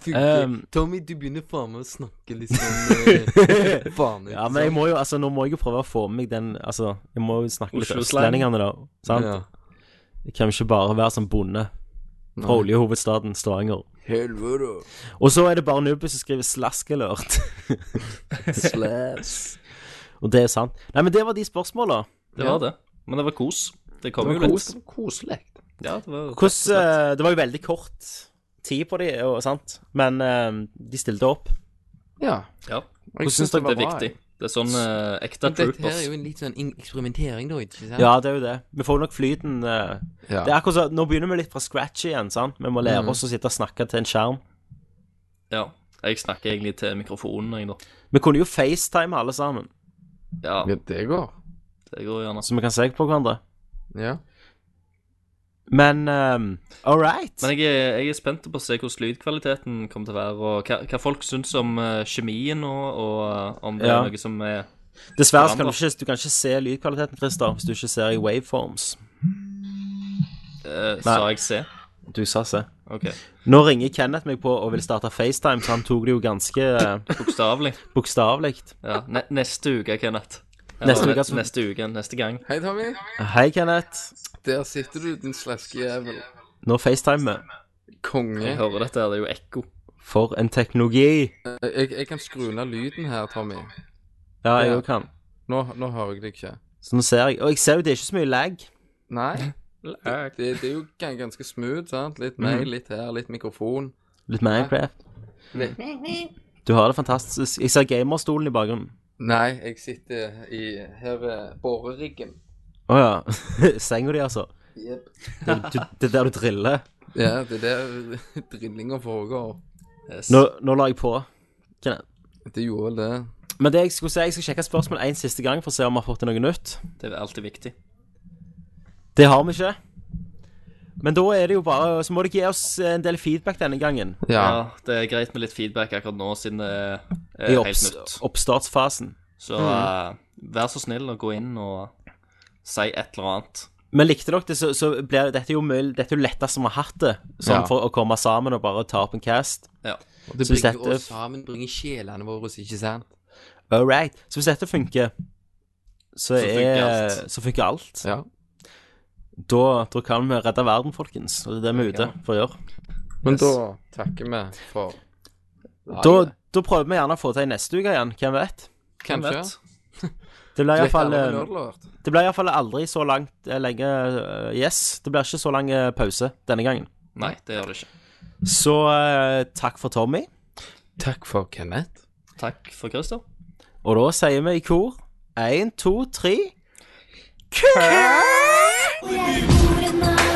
Funker.
Um,
Tommy, du begynner faen meg å snakke litt sånn eh, faen ut.
Ja, men jeg må jo, altså, nå må jeg jo prøve å få med meg den Altså, jeg må jo snakke litt
Oslo-slang.
østlendingene, da. Sant?
Ja.
Jeg kan jo ikke bare være som bonde fra
Nei.
oljehovedstaden Stavanger.
Helvete.
Og så er det bare Nubbe som skriver 'slaskelørt'.
Slaps.
Og det er sant. Nei, men det var de spørsmåla.
Det var det. Men det var kos. Det kom
Det
jo
var
litt.
kos, koselig.
Ja, det var
Hvordan eh, Det var jo veldig kort tid på de, og, sant? men eh, de stilte opp.
Ja.
Ja.
Og jeg
Hvordan
synes
det
var
Det er
bra,
viktig.
jeg.
Det er sånn eh, ekte
Men Dette her
troopers.
er jo en litt sånn in- eksperimentering, da. ikke sant?
Ja, det er jo det. Vi får nok flyten. eh.
Ja.
Det er akkurat så, Nå begynner vi litt fra scratch igjen. sant? Vi må lære
Mhm.
oss å sitte og snakke til en skjerm.
Ja. Jeg snakker egentlig til mikrofonen, jeg, da.
Vi kunne jo FaceTime alle sammen,
Ja.
det går.
Det går gjerne.
så vi kan se på hverandre.
Ja.
Men um, all right.
Men jeg er, jeg er spent på å se hvordan lydkvaliteten kommer til å være, og hva, hva folk syns om eh, kjemien og, og eh, om det
Ja.
er noe som er
Dessverre så kan du,
forandret.
ikke, du kan ikke se lydkvaliteten, Christer, hvis du ikke ser i waveforms.
Eh,
Nei.
Sa jeg se?
Du sa se.
OK.
Nå ringer Kenneth meg på og vil starte FaceTime, så han tok det jo ganske eh,
Bokstavelig.
bokstavelig.
Ja. Ne neste uke, Kenneth.
Neste
Eller,
uke, altså.
neste uke. Neste gang.
Hei, Tommy.
Hei, Kenneth.
Der sitter du, din sleskejævel.
Nå FaceTime vi.
Konge.
Jeg hører dette, her, det er jo ekko.
For en teknologi.
Eh, Jeg, jeg kan skru ned lyden her, Tommy.
Ja, jeg
Ja.
òg kan.
Nå, nå hører jeg det ikke.
Så nå ser jeg. Og jeg ser jo det er ikke så mye lag.
Nei. Det, det, det er jo gan- ganske smooth, sant? Litt mail, litt her, litt mikrofon.
Litt Minecraft.
Litt.
Du har det fantastisk. Jeg ser gamerstolen i bakgrunnen.
Nei, jeg sitter i her ved boreriggen.
Å ja. Senga di, altså.
Jep.
Det, du, det er der du driller.
Ja, det er der drillinga foregår. Yes.
Nå, nå la jeg på. Kenneth.
Det gjorde vel det.
Men det jeg skulle si, jeg skal sjekke spørsmål én siste gang for å se om vi har fått noe nytt.
Det er alltid viktig.
Det har vi ikke. Men da er det jo bare Så må dere gi oss en del feedback denne gangen.
Ja.
Det er greit med litt feedback akkurat nå, siden det er
I
eh, helt
opps
nytt.
oppstartsfasen.
Så
Mm.
eh, vær så snill å gå inn og si et eller annet.
Men likte dere det, så, så blir det- dette er jo mye Dette er jo lettest som vi har hatt det. Sånn
Ja.
for å komme sammen og bare ta opp en cast.
Ja.
Og det
Så hvis
bringer
dette-
oss sammen, bringer sjelene våre, ikke sant?
All right. Så hvis dette funker, så,
funker
er,
alt.
så funker alt.
Ja.
Da, da kan vi redde verden, folkens. Og det er det vi er ute for å gjøre.
Men
Yes.
da takker vi for
Da, da prøver vi gjerne å få til neste uke igjen. Hvem vet?
Hvem
Kanskje.
vet?
Det blir iallfall eh,
Nerdlord.
Det blir iallfall aldri så langt eh, lenge eh, Yes, det blir ikke så lang eh, pause denne gangen.
Nei, det gjør det ikke.
Så eh, takk for Tommy.
Takk for Kenneth.
Takk for Christer.
Og da sier vi i kor én, to, tre.
Hvor er meg?
ah, ah,